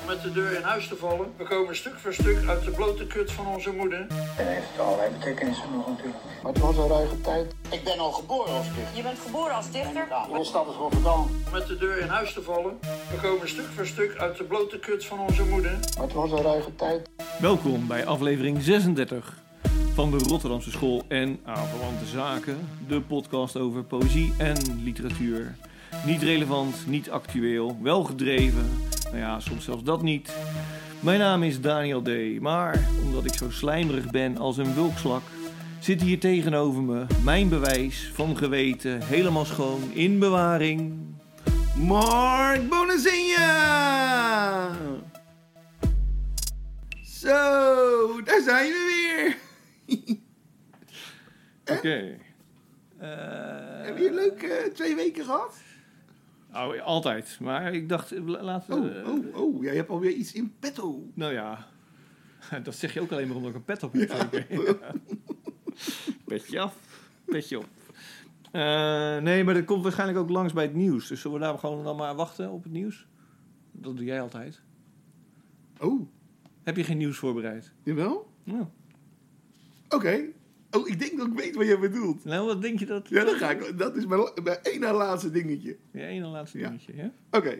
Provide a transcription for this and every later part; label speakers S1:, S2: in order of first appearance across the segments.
S1: om met de deur in huis te vallen. We komen stuk voor stuk uit de blote kut van onze moeder.
S2: En heeft allerlei betekenissen nog natuurlijk.
S3: Maar het was een ruige tijd.
S2: Ik ben al geboren als dichter.
S4: Je bent geboren als dichter.
S2: Mijn stad is Rotterdam.
S1: Om met de deur in huis te vallen. We komen stuk voor stuk uit de blote kut van onze moeder.
S3: Maar het was een ruige tijd.
S5: Welkom bij aflevering 36 van de Rotterdamse School en aanverwante zaken. De podcast over poëzie en literatuur. Niet relevant, niet actueel, wel gedreven. Nou ja, soms zelfs dat niet. Mijn naam is Daniel D. Maar omdat ik zo slijmerig ben als een wulkslak, zit hier tegenover me mijn bewijs van geweten helemaal schoon in bewaring. Mark Bonazinha!
S6: Zo, daar zijn we weer.
S5: Oké.
S6: Hebben jullie leuk eh, twee weken gehad?
S5: Oh, altijd. Maar ik dacht, eh, la- laten we...
S6: Oh, oh, oh, jij hebt alweer iets in petto.
S5: Nou ja, dat zeg je ook alleen maar omdat ik een pet op heb. Petje af, petje op. Eh, nee, maar dat komt waarschijnlijk ook langs bij het nieuws. Dus zullen we daar gewoon dan maar wachten op het nieuws? Dat doe jij altijd.
S6: Oh,
S5: Heb je geen nieuws voorbereid?
S6: jawel?
S5: Nou,
S6: Oké. Oh, ik denk dat ik weet wat jij bedoelt.
S5: nou wat denk je dat?
S6: Ja, dan ga ik. Dat is mijn, la- mijn één na laatste dingetje.
S5: Je ene laatste
S6: Ja.
S5: dingetje, ja?
S6: Oké.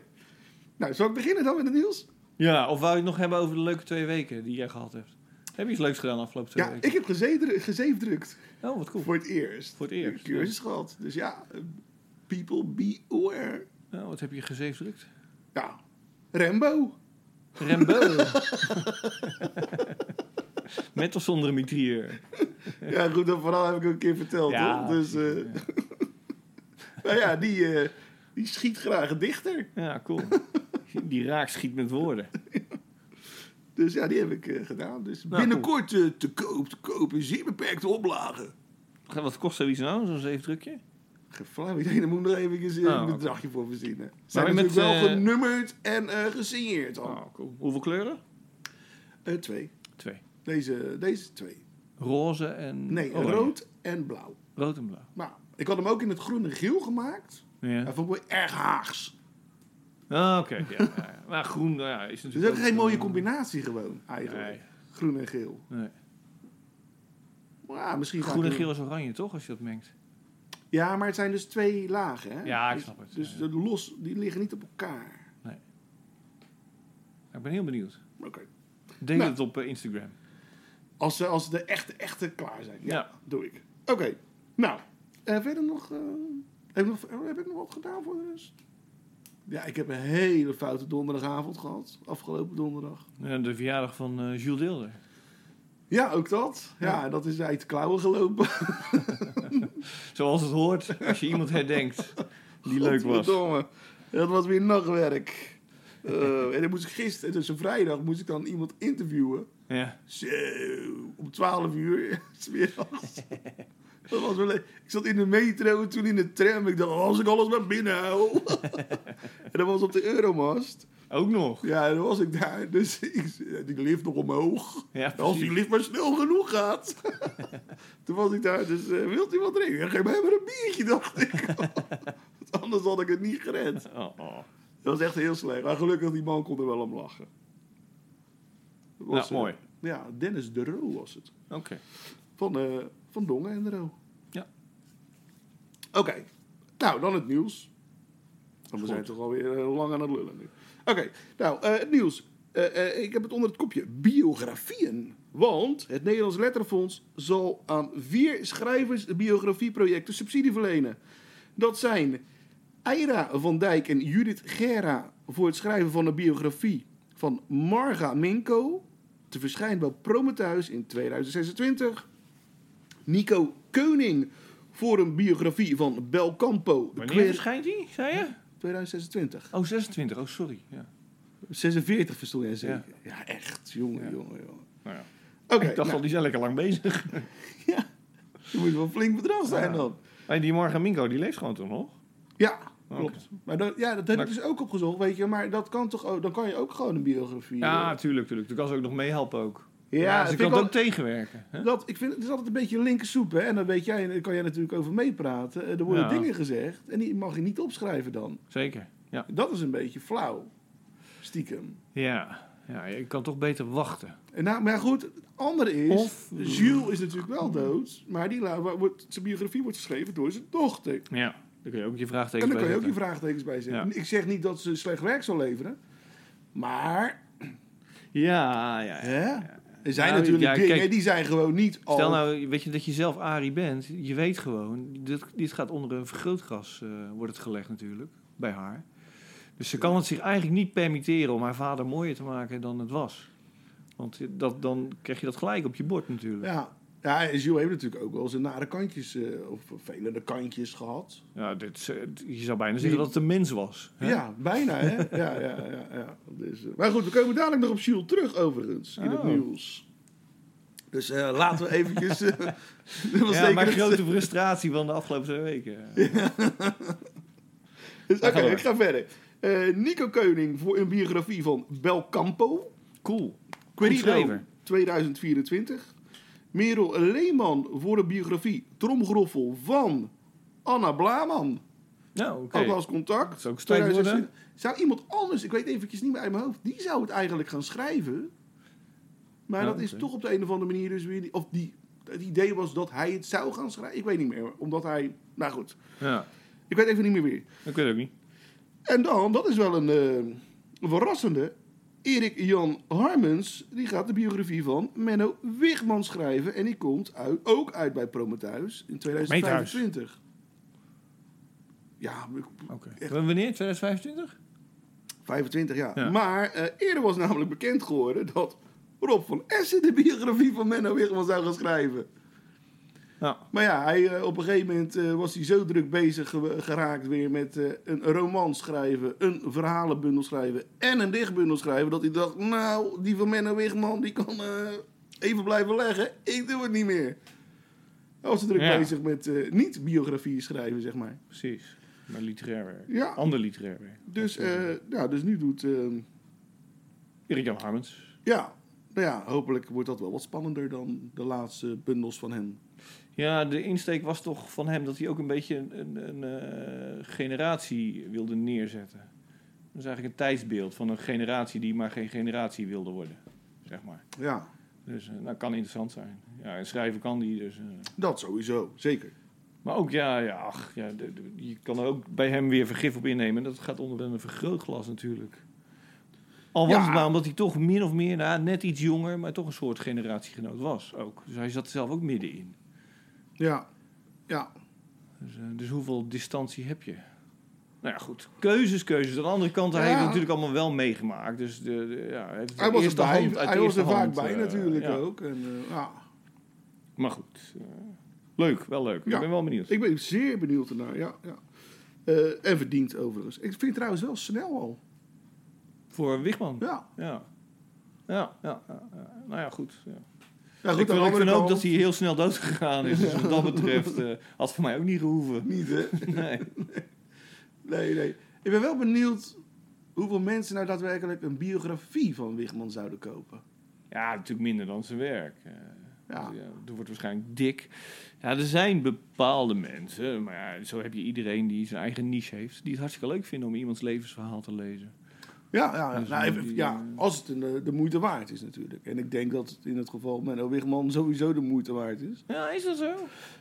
S6: Nou, zal ik beginnen dan met het nieuws?
S5: Ja, of wou je het nog hebben over de leuke twee weken die jij gehad hebt? Heb je iets leuks gedaan de afgelopen twee
S6: Ja,
S5: weken?
S6: ik heb gezeedru- gezeefdrukt.
S5: Oh, wat cool.
S6: Voor het eerst.
S5: Voor het eerst,
S6: Een cursus gehad. Dus ja, eh, people be aware.
S5: Nou, wat heb je gezeefdrukt?
S6: Nou, Rambo.
S5: Rembo. Met of zonder een mitrieur?
S6: Ja, goed, dat verhaal heb ik ook een keer verteld,
S5: Ja,
S6: toch? Dus, eh nou ja, die, eh, die schiet graag een dichter.
S5: Ja, cool. Die raak schiet met woorden.
S6: Dus ja, die heb ik eh, gedaan. Dus
S5: Nou,
S6: binnenkort eh, te koop, te koop in zeer beperkte oplagen.
S5: Wat kost zoiets nou, zo'n zeefdrukje?
S6: Geflauw idee, daar moet ik nog even eh,
S5: Oh,
S6: een
S5: oké.
S6: bedragje voor verzinnen. Zijn
S5: met,
S6: natuurlijk wel
S5: eh,
S6: genummerd en eh gesigneerd al.
S5: Oh, cool. Hoeveel kleuren?
S6: Eh, twee.
S5: Twee.
S6: Deze, deze twee.
S5: Roze en
S6: Nee,
S5: oranje.
S6: rood en blauw.
S5: Rood en blauw.
S6: Nou, ik had hem ook in het groen en geel gemaakt.
S5: Ja. Dus
S6: Hij vond ik wel erg haags.
S5: Ah, oké. ja, ja, ja. Maar groen nou ja, is
S6: Dus
S5: natuurlijk
S6: dat is geen mooie
S5: eh,
S6: combinatie gewoon, eigenlijk.
S5: Nee.
S6: Groen en geel.
S5: Nee.
S6: Maar ja, misschien ga
S5: Groen en
S6: ik er-
S5: geel is oranje, toch? Als je dat mengt.
S6: Ja, maar het zijn dus twee lagen, hè?
S5: Ja, ik
S6: Dus-
S5: snap het.
S6: Dus
S5: Ja,
S6: de los, die liggen niet op elkaar.
S5: Ik ben heel benieuwd.
S6: Oké.
S5: Deel
S6: Nou.
S5: het op eh, Instagram.
S6: Als, ze- als de echte, echte klaar zijn. Ja,
S5: Ja.
S6: doe ik. Oké. Nou, eh, verder nog, eh, heb, ik nog... Heb ik nog wat gedaan voor de rest? Ja, ik heb een hele foute donderdagavond gehad. Afgelopen donderdag.
S5: Eh, De verjaardag van eh, Jules Deelder.
S6: Ja, ook dat. Ja, dat is uit de klauwen gelopen.
S5: Zoals het hoort, als je iemand herdenkt die leuk was.
S6: Godverdomme. Dat was weer nachtwerk. Eh, en dan moest ik gisteren, dus een vrijdag, moest ik dan iemand interviewen.
S5: Ja.
S6: Zo, eh, om 12 uur, 's middags. Dat was wel leuk. Ik zat in de metro, toen in de tram. Ik dacht, als ik alles maar binnen hou. en dat was op de Euromast.
S5: Ook nog.
S6: Ja, en dan was ik daar. Dus ik, die lift nog omhoog.
S5: Ja,
S6: als die
S5: precies.
S6: lift maar snel genoeg gaat. toen was ik daar, dus eh, wilt u wat drinken? Ja, geef mij maar een biertje, dacht ik. Want anders had ik het niet gered.
S5: Oh, oh.
S6: Dat was echt heel slecht. Maar gelukkig, die man kon er wel om lachen. Dat
S5: Nou,
S6: eh,
S5: mooi.
S6: Ja, Dennis de Roo was het.
S5: Oké.
S6: Van, eh, van Dongen en de Roo.
S5: Ja.
S6: Oké. Nou, dan het nieuws. Want we
S5: Goed.
S6: zijn toch alweer eh, lang aan het lullen nu. Oké, nou, eh, het nieuws. Eh, eh, ik heb het onder het kopje biografieën. Want het Nederlands Letterenfonds zal aan vier schrijvers biografieprojecten subsidie verlenen. Dat zijn Eira van Dijk en Judith Gera voor het schrijven van een biografie van Marga Minko. Te verschijnen bij Prometheus in 2026. Nico Keuning voor een biografie van Belcampo. de
S5: Wanneer
S6: queer-
S5: verschijnt die, zei je?
S6: 2026.
S5: Oh, 26. Oh, sorry. Ja.
S6: 46 verstond jij zeker? Ja, echt. Jongen,
S5: Ja.
S6: jongen, jongen.
S5: Nou ja.
S6: Oké,
S5: ik dacht
S6: nou,
S5: al, die zijn lekker lang bezig.
S6: ja. Dat moet wel een flink bedrag zijn
S5: Ja.
S6: dan.
S5: Maar die Morgan Minko, die leeft gewoon toch nog?
S6: Ja,
S5: Oké.
S6: klopt. Maar dat, ja, dat heb
S5: Maar-
S6: ik dus ook opgezocht, weet je. Maar dat kan toch ook, dan kan je ook gewoon een biografie...
S5: Ja, tuurlijk, tuurlijk. Toen kan ze ook nog meehelpen ook.
S6: Ja,
S5: Ja,
S6: dat
S5: ze
S6: vind
S5: kan
S6: ik
S5: het
S6: al-
S5: ook tegenwerken. Hè?
S6: Dat, ik vind, het is altijd een beetje linkersoep, hè. En dan weet jij, en daar kan jij natuurlijk over meepraten. Eh, Er worden
S5: Ja.
S6: dingen gezegd en die mag je niet opschrijven dan.
S5: Zeker. Ja.
S6: Dat is een beetje flauw. Stiekem.
S5: Ja. ja, je kan toch beter wachten.
S6: En nou, maar goed, het andere is...
S5: Of-
S6: Jules is natuurlijk wel dood. Maar die, la- wordt, zijn biografie wordt geschreven door zijn dochter.
S5: Ja, daar kun je ook je
S6: En
S5: vraagtekens
S6: daar
S5: bij
S6: kan je ook je
S5: zetten.
S6: vraagtekens bij zetten.
S5: Ja.
S6: Ik zeg niet dat ze slecht werk zal leveren. Maar
S5: Ja, ja. ja.
S6: hè? er zijn
S5: Nou,
S6: natuurlijk
S5: ja,
S6: dingen
S5: kijk.
S6: die zijn gewoon niet al...
S5: Stel nou, weet je dat je zelf Ari bent. Je weet gewoon, dit, dit gaat onder een vergrootglas eh, wordt het gelegd natuurlijk, bij haar. Dus ze kan het zich eigenlijk niet permitteren om haar vader mooier te maken dan het was. Want dat, dan krijg je dat gelijk op je bord natuurlijk. Ja,
S6: Ja. ja, en Jules heeft natuurlijk ook wel zijn nare kantjes, eh, of velende kantjes gehad.
S5: dit, is, eh, je zou bijna zeggen dat het een mens was. hè?
S6: Ja, bijna hè. ja, ja, ja, ja. Dus, eh, maar goed, we komen dadelijk nog op Jules terug overigens, in het
S5: Oh.
S6: nieuws. Dus eh, laten we eventjes... eh, dat was
S5: Ja,
S6: zeker
S5: mijn
S6: het-
S5: grote frustratie van de afgelopen twee weken.
S6: Dus, Oké,
S5: Ga door.
S6: ik ga verder. Eh, Nico Keuning voor een biografie van Belcampo.
S5: Cool.
S6: Querido
S5: Schrijver.
S6: 2024. Merel Leeman voor een biografie Tromgroffel van Anna Blaman.
S5: Nou, oké.
S6: Ook als contact.
S5: Zou ook sterk
S6: 2020. Zou iemand anders, ik weet eventjes niet meer uit mijn hoofd, die zou het eigenlijk gaan schrijven. Maar
S5: Ja,
S6: dat is
S5: oké.
S6: toch op de een of andere manier dus weer... niet- Of die, het idee was dat hij het zou gaan schrijven. Ik weet niet meer, omdat hij... Nou goed,
S5: Ja,
S6: ik weet even niet meer weer.
S5: ik weet het ook niet.
S6: En dan, dat is wel een eh, een verrassende. Erik Jan Harmens, die gaat de biografie van Menno Wigman schrijven. En die komt uit, ook uit bij Prometheus in 2025. Ja,
S5: Oké.
S6: Echt.
S5: Wanneer? 2025?
S6: 25 jaar.
S5: Ja.
S6: Maar eh, eerder was namelijk bekend geworden dat Rob van Essen de biografie van Menno Wigman zou gaan schrijven.
S5: Nou,
S6: Maar ja, hij, eh, op een gegeven moment eh, was hij zo druk bezig ge- geraakt weer met eh, een roman schrijven, een verhalenbundel schrijven en een dichtbundel schrijven, dat hij dacht, nou, die van Menno Wigman, die kan eh, even blijven leggen, ik doe het niet meer. Hij was zo druk
S5: Ja.
S6: bezig met eh, niet biografie schrijven, zeg maar.
S5: precies. Maar literair werk.
S6: Ja.
S5: Ander literair werk.
S6: Dus, eh, ja, dus nu doet, eh,
S5: Erik Jan Harmens.
S6: ja, nou ja, hopelijk wordt dat wel wat spannender dan de laatste bundels van hem.
S5: Ja, de insteek was toch van hem dat hij ook een beetje een, een, een eh, generatie wilde neerzetten. Dat is eigenlijk een tijdsbeeld van een generatie die maar geen generatie wilde worden, zeg maar.
S6: Ja,
S5: Dus eh, dat kan interessant zijn. Ja, en schrijven kan die dus. eh.
S6: dat sowieso, zeker.
S5: Maar ook, ja, ja, ach, ja, de- de- je kan er ook bij hem weer vergif op innemen. Dat gaat onder een vergrootglas natuurlijk. Al was
S6: Ja.
S5: het maar omdat hij toch min of meer, nou, net iets jonger, maar toch een soort generatiegenoot was ook. Dus hij zat er zelf ook middenin.
S6: Ja, ja,
S5: Dus, eh, dus hoeveel distantie heb je? Nou ja, goed. Keuzes, keuzes. Aan de andere kant, hij
S6: Ja.
S5: heeft het natuurlijk allemaal wel meegemaakt. Dus de, de- ja, hij heeft het
S6: Hij was
S5: eerste
S6: er, bij,
S5: hand uit de
S6: hij was
S5: eerste
S6: er vaak
S5: hand,
S6: bij
S5: eh,
S6: natuurlijk
S5: ja.
S6: ook. En, eh, ja.
S5: Maar goed. eh, leuk, wel leuk.
S6: Ja.
S5: Ik ben wel benieuwd.
S6: Ik ben zeer benieuwd ernaar, ja. ja. Eh, en verdiend overigens. Ik vind het trouwens wel snel al.
S5: Voor Wichman.
S6: Ja,
S5: Ja. Ja, ja, ja, ja. nou ja, goed. Ja.
S6: ja
S5: ik
S6: aan
S5: wil
S6: de
S5: ik
S6: andere
S5: vind ook
S6: kant-
S5: dat hij heel snel dood gegaan is. Dus wat dat betreft eh, had voor mij ook niet gehoeven.
S6: Niet, hè?
S5: Nee.
S6: Nee, nee. Ik ben wel benieuwd hoeveel mensen nou daadwerkelijk een biografie van Wigman zouden kopen.
S5: Ja, natuurlijk minder dan zijn werk. Eh,
S6: Ja.
S5: ja, dat wordt waarschijnlijk dik. Ja, er zijn bepaalde mensen, maar ja, zo heb je iedereen die zijn eigen niche heeft, die het hartstikke leuk vinden om iemands levensverhaal te lezen.
S6: Ja, ja, ja.
S5: Dus
S6: Nou,
S5: die-
S6: even- ja als het eh, de, de moeite waard is natuurlijk. En ik denk dat het in het geval Menno Wigman sowieso de moeite waard is.
S5: Ja, is dat zo?
S6: Ik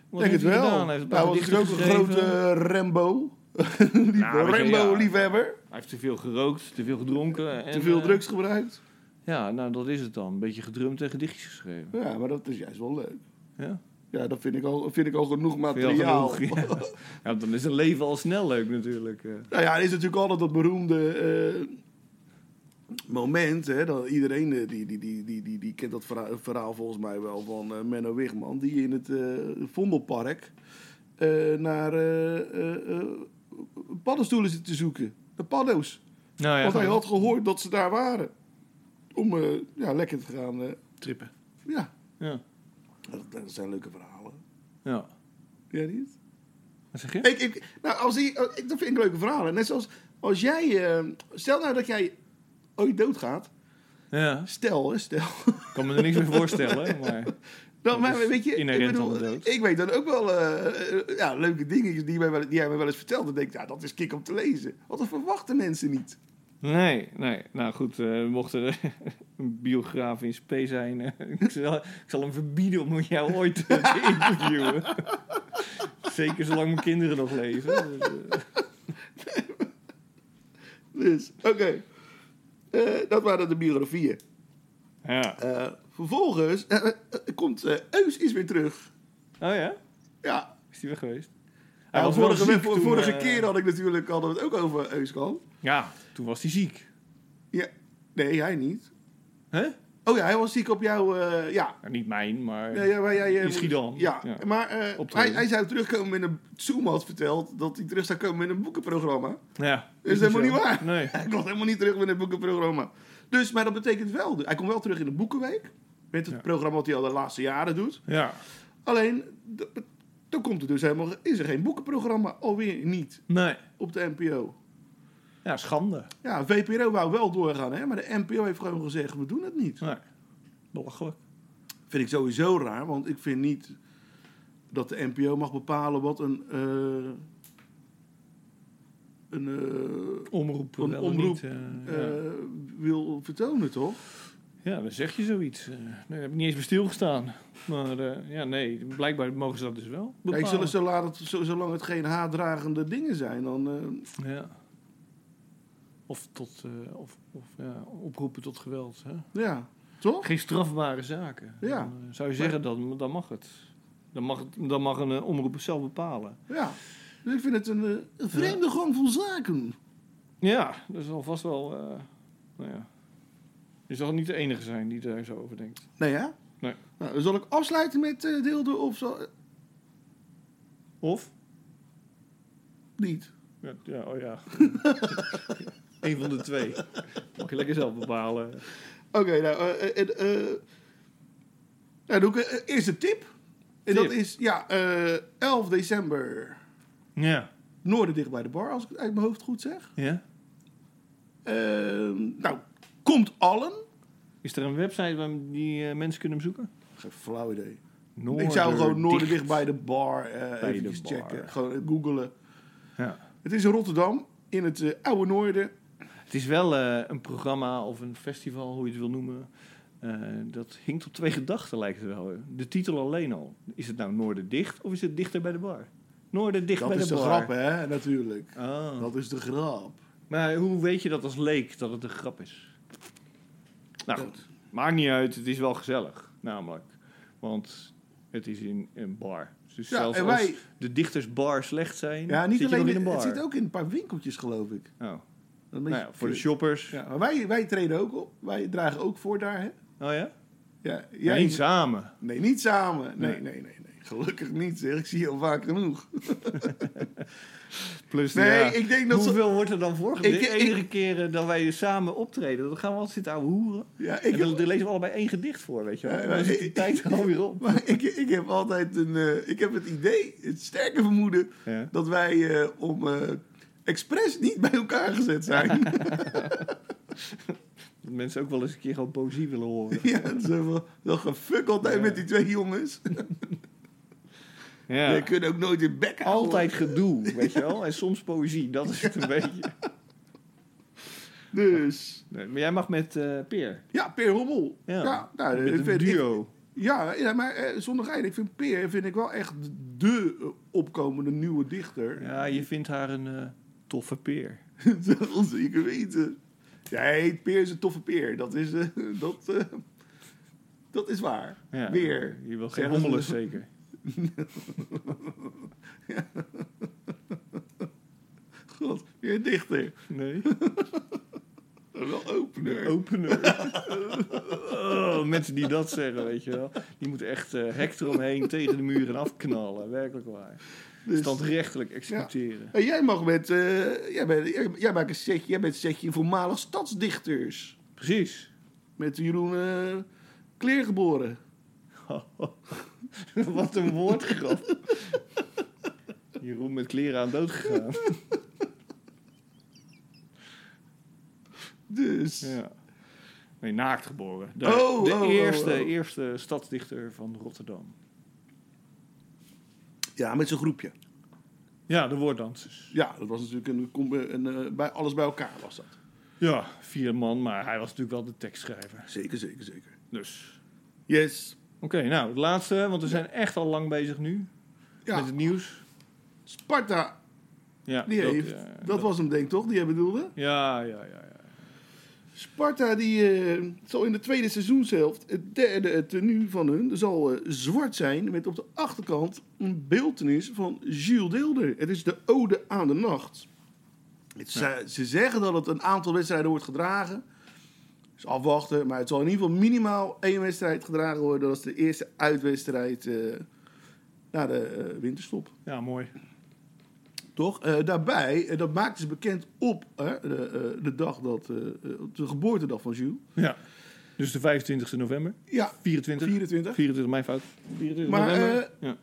S5: Wat
S6: denk het
S5: heeft hij gedaan?
S6: wel.
S5: Hij heeft
S6: Hij
S5: een paar
S6: was
S5: gedichten
S6: natuurlijk ook een
S5: geschreven.
S6: grote eh, Rambo. Lief-
S5: Nou, weet je, ja.
S6: Rambo-liefhebber.
S5: Hij heeft te veel gerookt, te veel gedronken. En,
S6: Te veel
S5: eh,
S6: drugs gebruikt.
S5: Ja, nou dat is het dan. Een beetje gedrumd en gedichtjes geschreven.
S6: Ja, maar dat is juist wel leuk.
S5: Ja?
S6: Ja, dat vind ik al, vind ik al genoeg
S5: Vind je
S6: materiaal.
S5: al genoeg? Ja. Ja, dan is een leven al snel leuk natuurlijk. eh.
S6: Nou ja, er is natuurlijk altijd dat beroemde eh, moment. Hè, dat iedereen eh, die, die, die, die, die, die kent dat verhaal, verhaal volgens mij wel van eh, Menno Wigman. Die in het eh, Vondelpark eh, naar eh, eh, eh, paddenstoelen zit te zoeken. De paddo's.
S5: Nou ja,
S6: Want hij had gehoord dat ze daar waren. Om eh, ja, lekker te gaan eh, trippen. Ja,
S5: Ja.
S6: dat, dat zijn leuke verhalen.
S5: ja.
S6: Ja, niet?
S5: Wat zeg je?
S6: Ik, ik, nou, als die, als- ik, dat vind ik leuke verhalen. Net zoals als jij... eh, stel nou dat jij ooit doodgaat.
S5: Ja,
S6: Stel, hè, stel.
S5: ik kan me er niks meer voorstellen. Maar
S6: Dan,
S5: Dat
S6: maar,
S5: is
S6: weet je, ik,
S5: inherent aan de
S6: bedoel,
S5: dood.
S6: ik weet dan ook wel eh, eh, ja, leuke dingen die, mij wel, die hij me wel eens vertelt. Dan denk ik, ja, dat is kick om te lezen. Want dat verwachten mensen niet.
S5: Nee, nee. Nou goed, eh, mocht er eh, een biograaf in spe zijn, eh, ik, zal, ik zal hem verbieden om jou ooit eh, te interviewen. Zeker zolang mijn kinderen nog leven. Dus, eh,
S6: Dus, oké. Eh, dat waren de biografieën.
S5: ja.
S6: Eh, vervolgens eh, eh, komt eh, Eus is weer terug.
S5: Oh ja?
S6: Ja,
S5: Is die weg geweest? Hij
S6: nou,
S5: was wel
S6: vorige,
S5: ziek
S6: voor-
S5: toen,
S6: vorige
S5: eh,
S6: keer had ik natuurlijk hadden we het ook over Eus gehad.
S5: Ja, toen was hij ziek.
S6: Ja, nee, hij niet.
S5: Hè?
S6: Oh ja, hij was ziek op jou. eh, ja.
S5: Nou, niet mijn, maar...
S6: Ja, ja, maar jij, eh,
S5: In Schiedam.
S6: Ja,
S5: Ja.
S6: maar eh,
S5: Op de-
S6: hij, hij zou terugkomen met een... Zoom had verteld dat hij terug zou komen met een boekenprogramma.
S5: Ja,
S6: Dat is helemaal niet
S5: zo.
S6: waar.
S5: Nee.
S6: Hij komt helemaal niet terug met een boekenprogramma. Dus, maar dat betekent wel... Hij komt wel terug in de Boekenweek. Met het
S5: Ja.
S6: programma wat hij al de laatste jaren doet.
S5: Ja.
S6: Alleen, d- dan komt er dus helemaal... Is er geen boekenprogramma? Alweer niet.
S5: Nee.
S6: Op de NPO.
S5: Ja, schande.
S6: Ja, VPRO wou wel doorgaan, hè. Maar de NPO heeft gewoon gezegd, we doen het niet.
S5: Nee. Belachelijk.
S6: Vind ik sowieso raar, want ik vind niet dat de NPO mag bepalen wat een. eh, een, eh,
S5: Omroep.
S6: Een
S5: wel of
S6: omroep,
S5: Niet, eh, ja.
S6: eh, wil vertonen, toch?
S5: Ja, dan zeg je zoiets. Eh, nee, heb ik niet eens bij stilgestaan. Maar eh, ja, nee, blijkbaar mogen ze dat dus wel.
S6: Kijk,
S5: bepalen.
S6: zullen ze laten, het- zo- zolang het geen haatdragende dingen zijn, dan. eh,
S5: Ja. Of, tot, eh, of, of ja, oproepen tot geweld. Hè?
S6: ja, toch?
S5: Geen strafbare zaken.
S6: Ja.
S5: Dan, eh, zou je zeggen, dan, dan mag het. Dan mag, het- dan mag een eh, omroep het zelf bepalen.
S6: Ja. Dus ik vind het een, eh, een vreemde gang van zaken.
S5: Ja, dat zal vast wel... eh, nou ja. Je zal niet de enige zijn die daar zo over denkt.
S6: Nee, ja?
S5: Nee.
S6: Nou, dan zal ik afsluiten met eh deelde of zo. eh,
S5: Of?
S6: niet.
S5: Ja, ja, oh ja. Eén van de twee. Mag je lekker zelf bepalen.
S6: Oké, nou, eh, eh, eh, eh, nou, doe ik een eerste tip. En
S5: Tip.
S6: dat is, ja, eh, 11 december,
S5: Ja.
S6: Noorden dicht bij de bar, als ik het uit mijn hoofd goed zeg.
S5: Ja?
S6: Ehm, nou, komt allen.
S5: Is er een website waar die eh, mensen kunnen bezoeken?
S6: Geen flauw idee.
S5: Noorder
S6: ik zou gewoon Noorden
S5: dicht.
S6: dicht bij de bar eh
S5: Bij
S6: even
S5: de bar.
S6: checken. Gewoon eh, googelen.
S5: Ja.
S6: Het is in Rotterdam, in het eh, oude Noorden.
S5: Het is wel eh, een programma of een festival, hoe je het wil noemen. eh, dat hinkt op twee gedachten, lijkt het wel. De titel alleen al. Is het nou Noorden dicht of is het dichter bij de bar? Noorden dicht
S6: Dat
S5: bij
S6: is
S5: de
S6: de,
S5: bar.
S6: grap, hè, natuurlijk.
S5: Ah.
S6: Dat is de grap.
S5: Maar hoe weet je dat als leek dat het een grap is? Nou
S6: Ja.
S5: goed, maakt niet uit. Het is wel gezellig, namelijk. Want het is in een bar. Dus
S6: Ja,
S5: zelfs
S6: en
S5: als
S6: wij-
S5: de dichtersbar slecht zijn,
S6: Ja, niet
S5: zit
S6: alleen,
S5: je nog in een bar.
S6: het zit ook in een paar winkeltjes, geloof ik.
S5: Oh.
S6: Dat
S5: Nou ja, voor de shoppers.
S6: Ja, maar wij, wij treden ook op. Wij dragen ook voor daar, hè?
S5: Oh ja?
S6: Ja,
S5: Ja,
S6: jij,
S5: niet samen.
S6: Nee, niet samen. Nee,
S5: Nee.
S6: nee, nee, nee, Gelukkig niet, zeg. Ik zie je al vaak genoeg.
S5: Plus,
S6: Nee,
S5: ja,
S6: ik denk dat ze-
S5: Hoeveel wordt er dan voorgedaan?
S6: Ik-
S5: De
S6: ik-
S5: enige keren dat wij dus samen optreden, dan gaan we altijd zitten ouwe hoeren.
S6: Ja,
S5: En
S6: ik
S5: dan,
S6: heb,
S5: dan lezen we allebei één gedicht voor, weet je wel.
S6: Ja,
S5: dan
S6: maar
S5: zit de
S6: ik-
S5: tijd alweer op.
S6: maar ik, ik heb altijd een... eh, ik heb het idee, het sterke vermoeden...
S5: Ja.
S6: dat wij eh, om eh, expres niet bij elkaar gezet zijn.
S5: Dat mensen ook wel eens een keer gewoon poëzie willen horen.
S6: ja, het is wel, wel gefuck altijd
S5: Ja.
S6: met die twee jongens.
S5: Ja.
S6: Die kunnen ook nooit in bek houden.
S5: Altijd gedoe, weet je wel. En soms poëzie, dat is het een beetje.
S6: Dus...
S5: Nee, maar jij mag met eh, Peer.
S6: Ja, Peer Hommel.
S5: Ja.
S6: nou,
S5: Met
S6: ik
S5: een
S6: vind- ik-
S5: duo.
S6: Ja, ja maar eh, zonder gein. Ik vind Peer vind ik wel echt de eh, opkomende nieuwe dichter.
S5: Ja, je vindt haar een eh, toffe Peer.
S6: dat wil zeker weten. Nee, Peer is een toffe Peer. Dat is, eh, dat, eh, dat is waar.
S5: Ja.
S6: Weer.
S5: Je wil geen
S6: Zeggen ze-
S5: hommeles zeker.
S6: God, weer een dichter.
S5: Nee.
S6: Wel opener.
S5: Opener. Oh, mensen die dat zeggen, weet je wel. Die moeten echt eh hek eromheen tegen de muur en afknallen. Werkelijk waar.
S6: Dus-
S5: Standrechtelijk executeren.
S6: En jij mag met... eh, jij, bent, jij, jij maakt een setje, jij bent een setje voormalig stadsdichters.
S5: Precies.
S6: Met Jeroen eh Kleergeboren.
S5: Wat een woordgrap. Jeroen met kleren aan dood gegaan.
S6: Dus...
S5: Ja. Nee, naakt geboren. De,
S6: Oh,
S5: de
S6: oh, oh,
S5: eerste,
S6: oh.
S5: eerste stadsdichter van Rotterdam.
S6: ja, met zo'n groepje.
S5: Ja, de woorddansers.
S6: Ja, dat was natuurlijk een, com- een, eh, bij alles bij elkaar was dat.
S5: Ja, vier man, maar hij was natuurlijk wel de tekstschrijver.
S6: Zeker, zeker, zeker.
S5: Dus.
S6: Yes.
S5: Oké, nou, het laatste, want we zijn echt al lang bezig nu
S6: Ja,
S5: met het nieuws.
S6: Sparta,
S5: Ja,
S6: die
S5: dat,
S6: heeft...
S5: eh,
S6: dat, was hem denk ik toch, die jij bedoelde?
S5: Ja, ja, ja. ja.
S6: Sparta die eh, zal in de tweede seizoenshelft het derde tenue van hun zal eh, zwart zijn met op de achterkant een beeltenis van Jules Deelder. Het is de ode aan de nacht. Het, ze, ze zeggen dat het een aantal wedstrijden wordt gedragen. Dus afwachten, maar het zal in ieder geval minimaal één wedstrijd gedragen worden. Dat is de eerste uitwedstrijd eh, na de eh, winterstop.
S5: Ja, mooi.
S6: Toch? Eh, daarbij, eh, dat maakten ze bekend op hè, de, eh, de dag dat, eh, eh, op de geboortedag van Jules.
S5: Ja. Dus de 25 november.
S6: Ja,
S5: 24.
S6: 24.
S5: 24, mijn fout. 24
S6: Maar, eh,
S5: november. ja.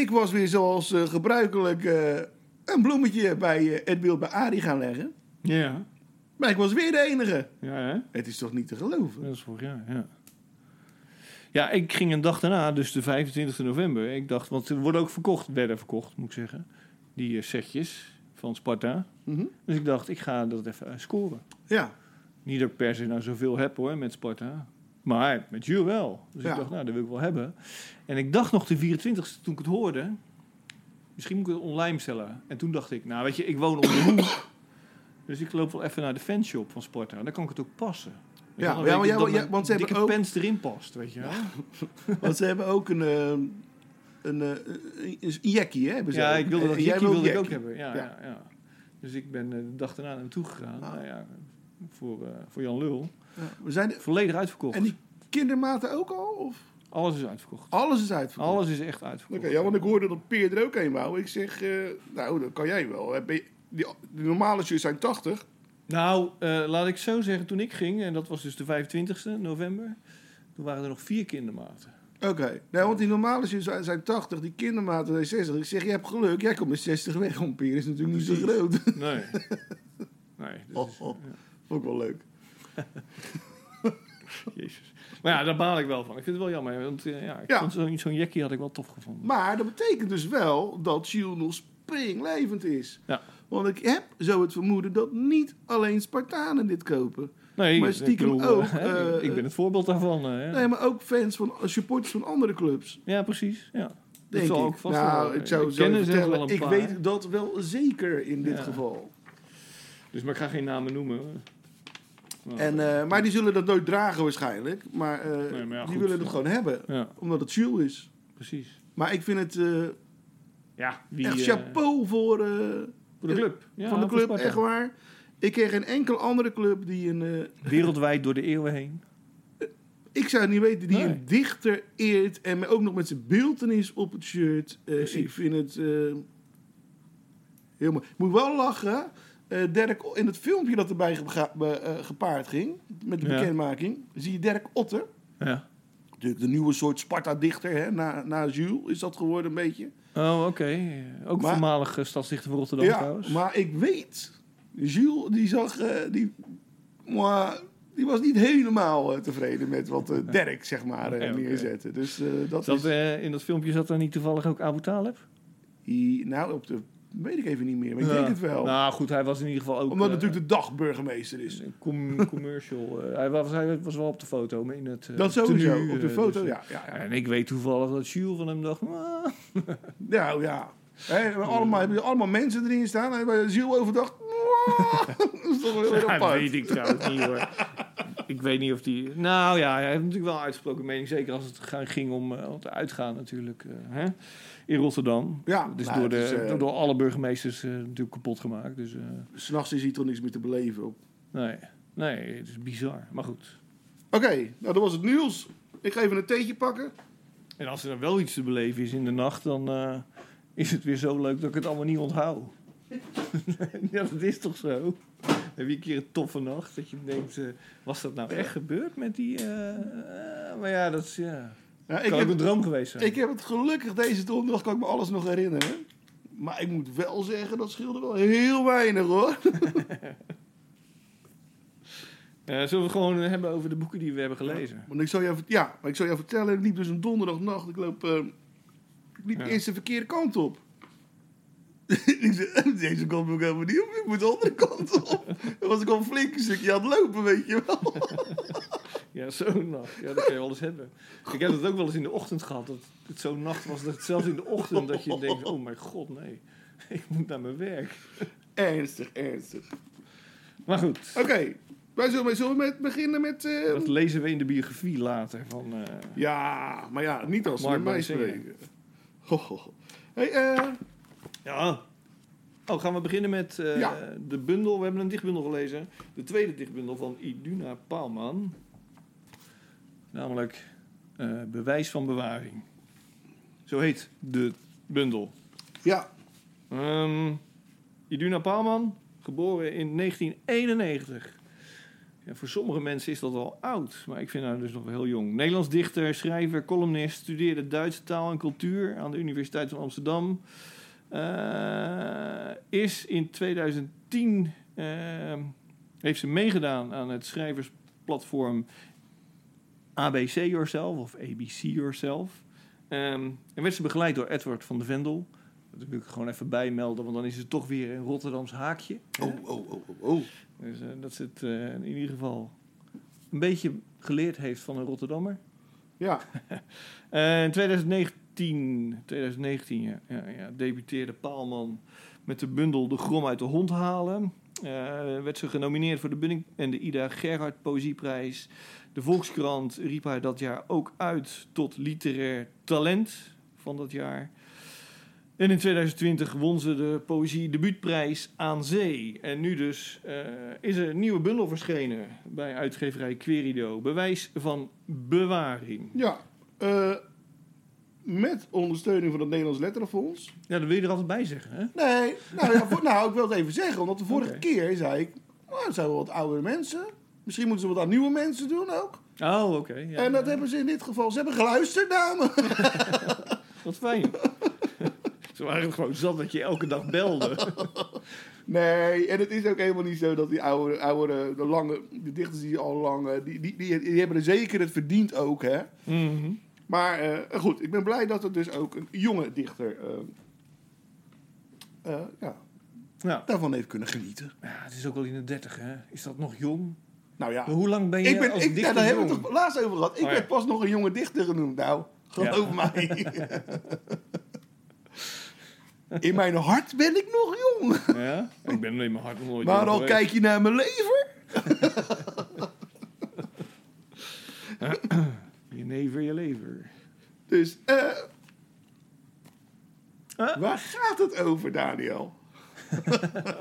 S6: Ik was weer zoals eh, gebruikelijk eh, een bloemetje bij eh, het beeld bij Arie gaan leggen.
S5: ja.
S6: Maar ik was weer de enige.
S5: Ja, hè?
S6: Het is toch niet te geloven?
S5: Dat is vorig jaar, ja. Ja, ik ging een dag daarna, dus de 25 november. Ik dacht, want er worden ook verkocht, werden verkocht, moet ik zeggen. Die eh, setjes van Sparta.
S6: Mhm.
S5: Dus ik dacht, ik ga dat even eh, scoren.
S6: Ja,
S5: Niet dat ik per se nou zoveel heb hoor, met Sparta. Maar met Jules wel. Dus
S6: Ja.
S5: ik dacht, nou, dat wil ik wel hebben. En ik dacht nog de 24ste toen ik het hoorde. Misschien moet ik het online bestellen. En toen dacht ik, nou weet je, ik woon om de hoek. Dus ik loop wel even naar de fanshop van Sparta. Dan kan ik het ook passen.
S6: Ja, ja, maar jij- jij- want ze
S5: dikke
S6: hebben ook-
S5: pens erin past, weet je wel.
S6: want ze hebben ook een, eh, een, eh, een, een jackie, hè? hebben ze
S5: Ja,
S6: dus ook.
S5: ik wilde dat
S6: En jij
S5: jackie wilde ik
S6: jackie.
S5: ook hebben. Ja,
S6: Ja.
S5: ja. Ja, Dus ik ben eh, de dag daarna naartoe gegaan.
S6: Ah.
S5: Nou ja, voor, eh, voor Jan Lul.
S6: Ja, we zijn
S5: Volledig uitverkocht.
S6: en die kindermaten ook al? Of?
S5: Alles is uitverkocht.
S6: Alles is uitverkocht.
S5: Alles is echt
S6: Oké,
S5: uitverkocht.
S6: ja, want ik hoorde dat Peer er ook een wou. Ik zeg, eh, nou, dat kan jij wel. Heb je- Die, die normale shoes zijn 80.
S5: Nou, eh, laat ik zo zeggen, toen ik ging, en dat was dus de 25e november, toen waren er nog vier kindermaten.
S6: Oké, nou, want die normale shoes zijn, zijn 80, die kindermaten zijn 60. Ik zeg, je hebt geluk, jij komt met 60 weg, want Peer is natuurlijk niet zo groot.
S5: Nee. Nee, dus,
S6: Oh, oh. Ook wel leuk.
S5: jezus. Maar ja, daar baal ik wel van. Ik vind het wel jammer, want eh, ja, ik
S6: Ja.
S5: vond zo'n zo'n jackie had ik wel tof gevonden.
S6: Maar dat betekent dus wel dat Jules nog springlevend is.
S5: Ja.
S6: Want ik heb zo het vermoeden dat niet alleen Spartanen dit kopen.
S5: Nee,
S6: Maar
S5: ik
S6: stiekem
S5: bedoel,
S6: ook,
S5: hè,
S6: eh,
S5: ik ben het voorbeeld daarvan. eh, ja.
S6: Nee, maar ook fans van, supporters van andere clubs.
S5: ja, precies. Ja.
S6: Denk
S5: zal
S6: ik.
S5: ook vast
S6: nou,
S5: wel- eh,
S6: ik zou
S5: ik
S6: zo
S5: ken er zelf wel
S6: vertellen,
S5: een
S6: ik
S5: paar.
S6: weet dat wel zeker in dit
S5: Ja.
S6: geval.
S5: Dus maar ik ga geen namen noemen. hoor. Nou, Maar-
S6: En, eh, maar die zullen dat nooit dragen waarschijnlijk. Maar, eh,
S5: Nee, maar ja,
S6: die
S5: goed.
S6: willen het gewoon hebben.
S5: ja,
S6: Omdat het Jules is.
S5: precies.
S6: Maar ik vind het eh,
S5: Ja, wie,
S6: echt
S5: eh,
S6: chapeau voor, eh,
S5: voor de club. Ja,
S6: van de
S5: voor
S6: club,
S5: Sparta.
S6: echt waar. Ik ken geen enkele andere club die een... eh,
S5: Wereldwijd door de eeuwen heen.
S6: ik zou het niet weten, die
S5: Nee.
S6: een dichter eert. En me- ook nog met zijn beeldenis op het shirt. Eh, ik vind het eh heel mooi. Ik moet wel lachen. eh, Dirk, in het filmpje dat erbij geba- be- eh, gepaard ging, met de
S5: Ja.
S6: bekendmaking, zie je Dirk Otter.
S5: Ja.
S6: Natuurlijk de nieuwe soort Sparta-dichter, hè, na, na Jules is dat geworden een beetje.
S5: Oh, oké. Ook
S6: Maar-
S5: voormalig eh, stadsdichter van Rotterdam trouwens.
S6: maar ik weet, Jules die zag, eh, die, maar, die was niet helemaal eh, tevreden met wat eh, Dirk zeg maar eh,
S5: Oké, oké.
S6: neerzette. Dus eh, dat,
S5: Zat,
S6: is,
S5: eh, in dat filmpje zat daar niet toevallig ook Abu Talib?
S6: die, nou op de, weet ik even niet meer, maar ik
S5: eh, Ja.
S6: denk het wel.
S5: Nou goed, hij was in ieder geval ook...
S6: Omdat
S5: eh,
S6: natuurlijk de dagburgemeester is.
S5: een com- commercial. eh, hij, was, hij was wel op de foto. maar In het, eh,
S6: dat sowieso,
S5: tenue,
S6: op de
S5: eh,
S6: foto,
S5: dus, eh,
S6: ja, ja, ja.
S5: En ik weet toevallig dat Jules van hem dacht... "Ah."
S6: Nou ja, Hè, allemaal, hebben er allemaal mensen erin staan en bij Jules overdacht, dat is toch wel heel
S5: Ja, dat
S6: apart.
S5: weet ik trouwens niet hoor. Ik weet niet of die... Nou ja, hij heeft natuurlijk wel een uitgesproken mening. Zeker als het ga- ging om eh, om te uitgaan natuurlijk. eh, hè? In Rotterdam.
S6: Ja,
S5: Dus
S6: nou,
S5: door, de,
S6: het is, eh,
S5: door- door alle burgemeesters eh, natuurlijk kapot gemaakt. Dus eh,
S6: S'nachts is hier toch niks meer te beleven. Oké,
S5: nee. Nee, het is bizar. Maar goed.
S6: nou dat was het nieuws. Ik ga even een theetje pakken.
S5: En als er dan wel iets te beleven is in de nacht, dan eh, is het weer zo leuk dat ik het allemaal niet onthoud. ja, dat is toch zo? Dan heb je een keer een toffe nacht dat je denkt, eh, was dat nou echt gebeurd met die... eh, eh, maar ja, dat is... Ja.
S6: Ja, ik,
S5: kan ook
S6: heb,
S5: een droom geweest zijn.
S6: ik heb het gelukkig deze donderdag, kan ik me alles nog herinneren. Maar ik moet wel zeggen, dat scheelde wel heel weinig hoor.
S5: Eh, zullen we het gewoon hebben over de boeken die we hebben gelezen?
S6: Want ik zou jou, vert- ja, maar ik zou jou vertellen, ik liep dus een donderdagnacht. Ik loop eh, ik liep
S5: Ja.
S6: eerst de verkeerde kant op. ik zei, "Oh, deze kant moet ik helemaal niet op, ik moet de andere kant op. Dan was ik al flink een stukje aan het lopen, weet je wel.
S5: Ja, zo'n nacht. Ja, dat kan je wel eens hebben. Ik heb het ook wel eens in de ochtend gehad. Dat het zo'n nacht was. Dat het zelfs in de ochtend dat je denkt... Oh mijn god, nee. Ik moet naar mijn werk.
S6: Ernstig, ernstig.
S5: Maar goed.
S6: Oké, wij zullen, zullen we met, beginnen met... eh,
S5: Dat lezen we in de biografie later. Van, eh,
S6: ja, maar ja, niet als ze
S5: Mark
S6: met mij
S5: Mansinghe.
S6: spreken. Ho, ho, ho. Hey, eh,
S5: Ja. Oh, gaan we beginnen met eh,
S6: Ja.
S5: de bundel. We hebben een dichtbundel gelezen. De tweede dichtbundel van Iduna Paalman. Namelijk eh, Bewijs van Bewaring. Zo heet de bundel.
S6: ja,
S5: Ehm, Iduna Paalman, geboren in 1991. Ja, voor sommige mensen is dat al oud, maar ik vind haar dus nog heel jong. Nederlands dichter, schrijver, columnist, studeerde Duitse taal en cultuur aan de Universiteit van Amsterdam. Eh, is in 2010 ehm, heeft ze meegedaan aan het schrijversplatform ABC Yourself of ABC Yourself. Ehm, en werd ze begeleid door Edward van de Vendel. Dat wil ik er gewoon even bijmelden, want dan is het toch weer een Rotterdams haakje.
S6: oh, oh, oh, oh, oh.
S5: Dus eh, dat ze het eh, in ieder geval een beetje geleerd heeft van een Rotterdammer.
S6: Ja,
S5: Eh, in 2019, 2019 ja, ja, ja, debuteerde Paalman met de bundel De Grom uit de Hond halen. Eh, werd ze genomineerd voor de Bunning en de Ida Gerhard Poëzieprijs. De Volkskrant riep haar dat jaar ook uit tot literair talent van dat jaar. En in 2020 won ze de Poëzie Debuutprijs aan Zee. En nu dus eh, is er een nieuwe bundel verschenen bij uitgeverij Querido. Bewijs van bewaring.
S6: ja. eh, met ondersteuning van het Nederlands Letterenfonds...
S5: Ja, dat wil je er altijd bij zeggen, hè?
S6: Nee, nou, ja, voor- nou ik wil het even zeggen, omdat de vorige
S5: Oké.
S6: keer zei ik, nou, het zijn wel wat oudere mensen. Misschien moeten ze wat aan nieuwe mensen doen ook.
S5: Oh, oké. ja.
S6: en dat hebben ze in dit geval, ze hebben geluisterd naar me.
S5: Wat fijn. Ze waren het gewoon zat dat je elke dag belde.
S6: Nee, en het is ook helemaal niet zo dat die oude, oude de lange, de dichters die al lang, eh, die, die, die, die hebben er zeker het verdiend ook, hè.
S5: Mhm.
S6: Maar eh, goed, ik ben blij dat het dus ook een jonge dichter eh, eh, ja,
S5: Nou,
S6: daarvan heeft kunnen genieten.
S5: ja, het is ook al in de dertig, hè? Is dat nog jong?
S6: Nou ja,
S5: Maar hoe lang ben je
S6: Ik ben,
S5: als
S6: ik, ja,
S5: dichter
S6: daar hebben
S5: jong?
S6: we het toch laatst over gehad. Ik
S5: Oh ja.
S6: werd pas nog een jonge dichter genoemd, nou. Geloof mij. In mijn hart ben ik nog jong.
S5: Ja? Ik ben in mijn hart nog nooit
S6: Maar
S5: jong
S6: al
S5: geweest.
S6: kijk je naar mijn lever.
S5: Je never, je lever.
S6: Dus, eh...
S5: Huh?
S6: Waar gaat het over, Daniel?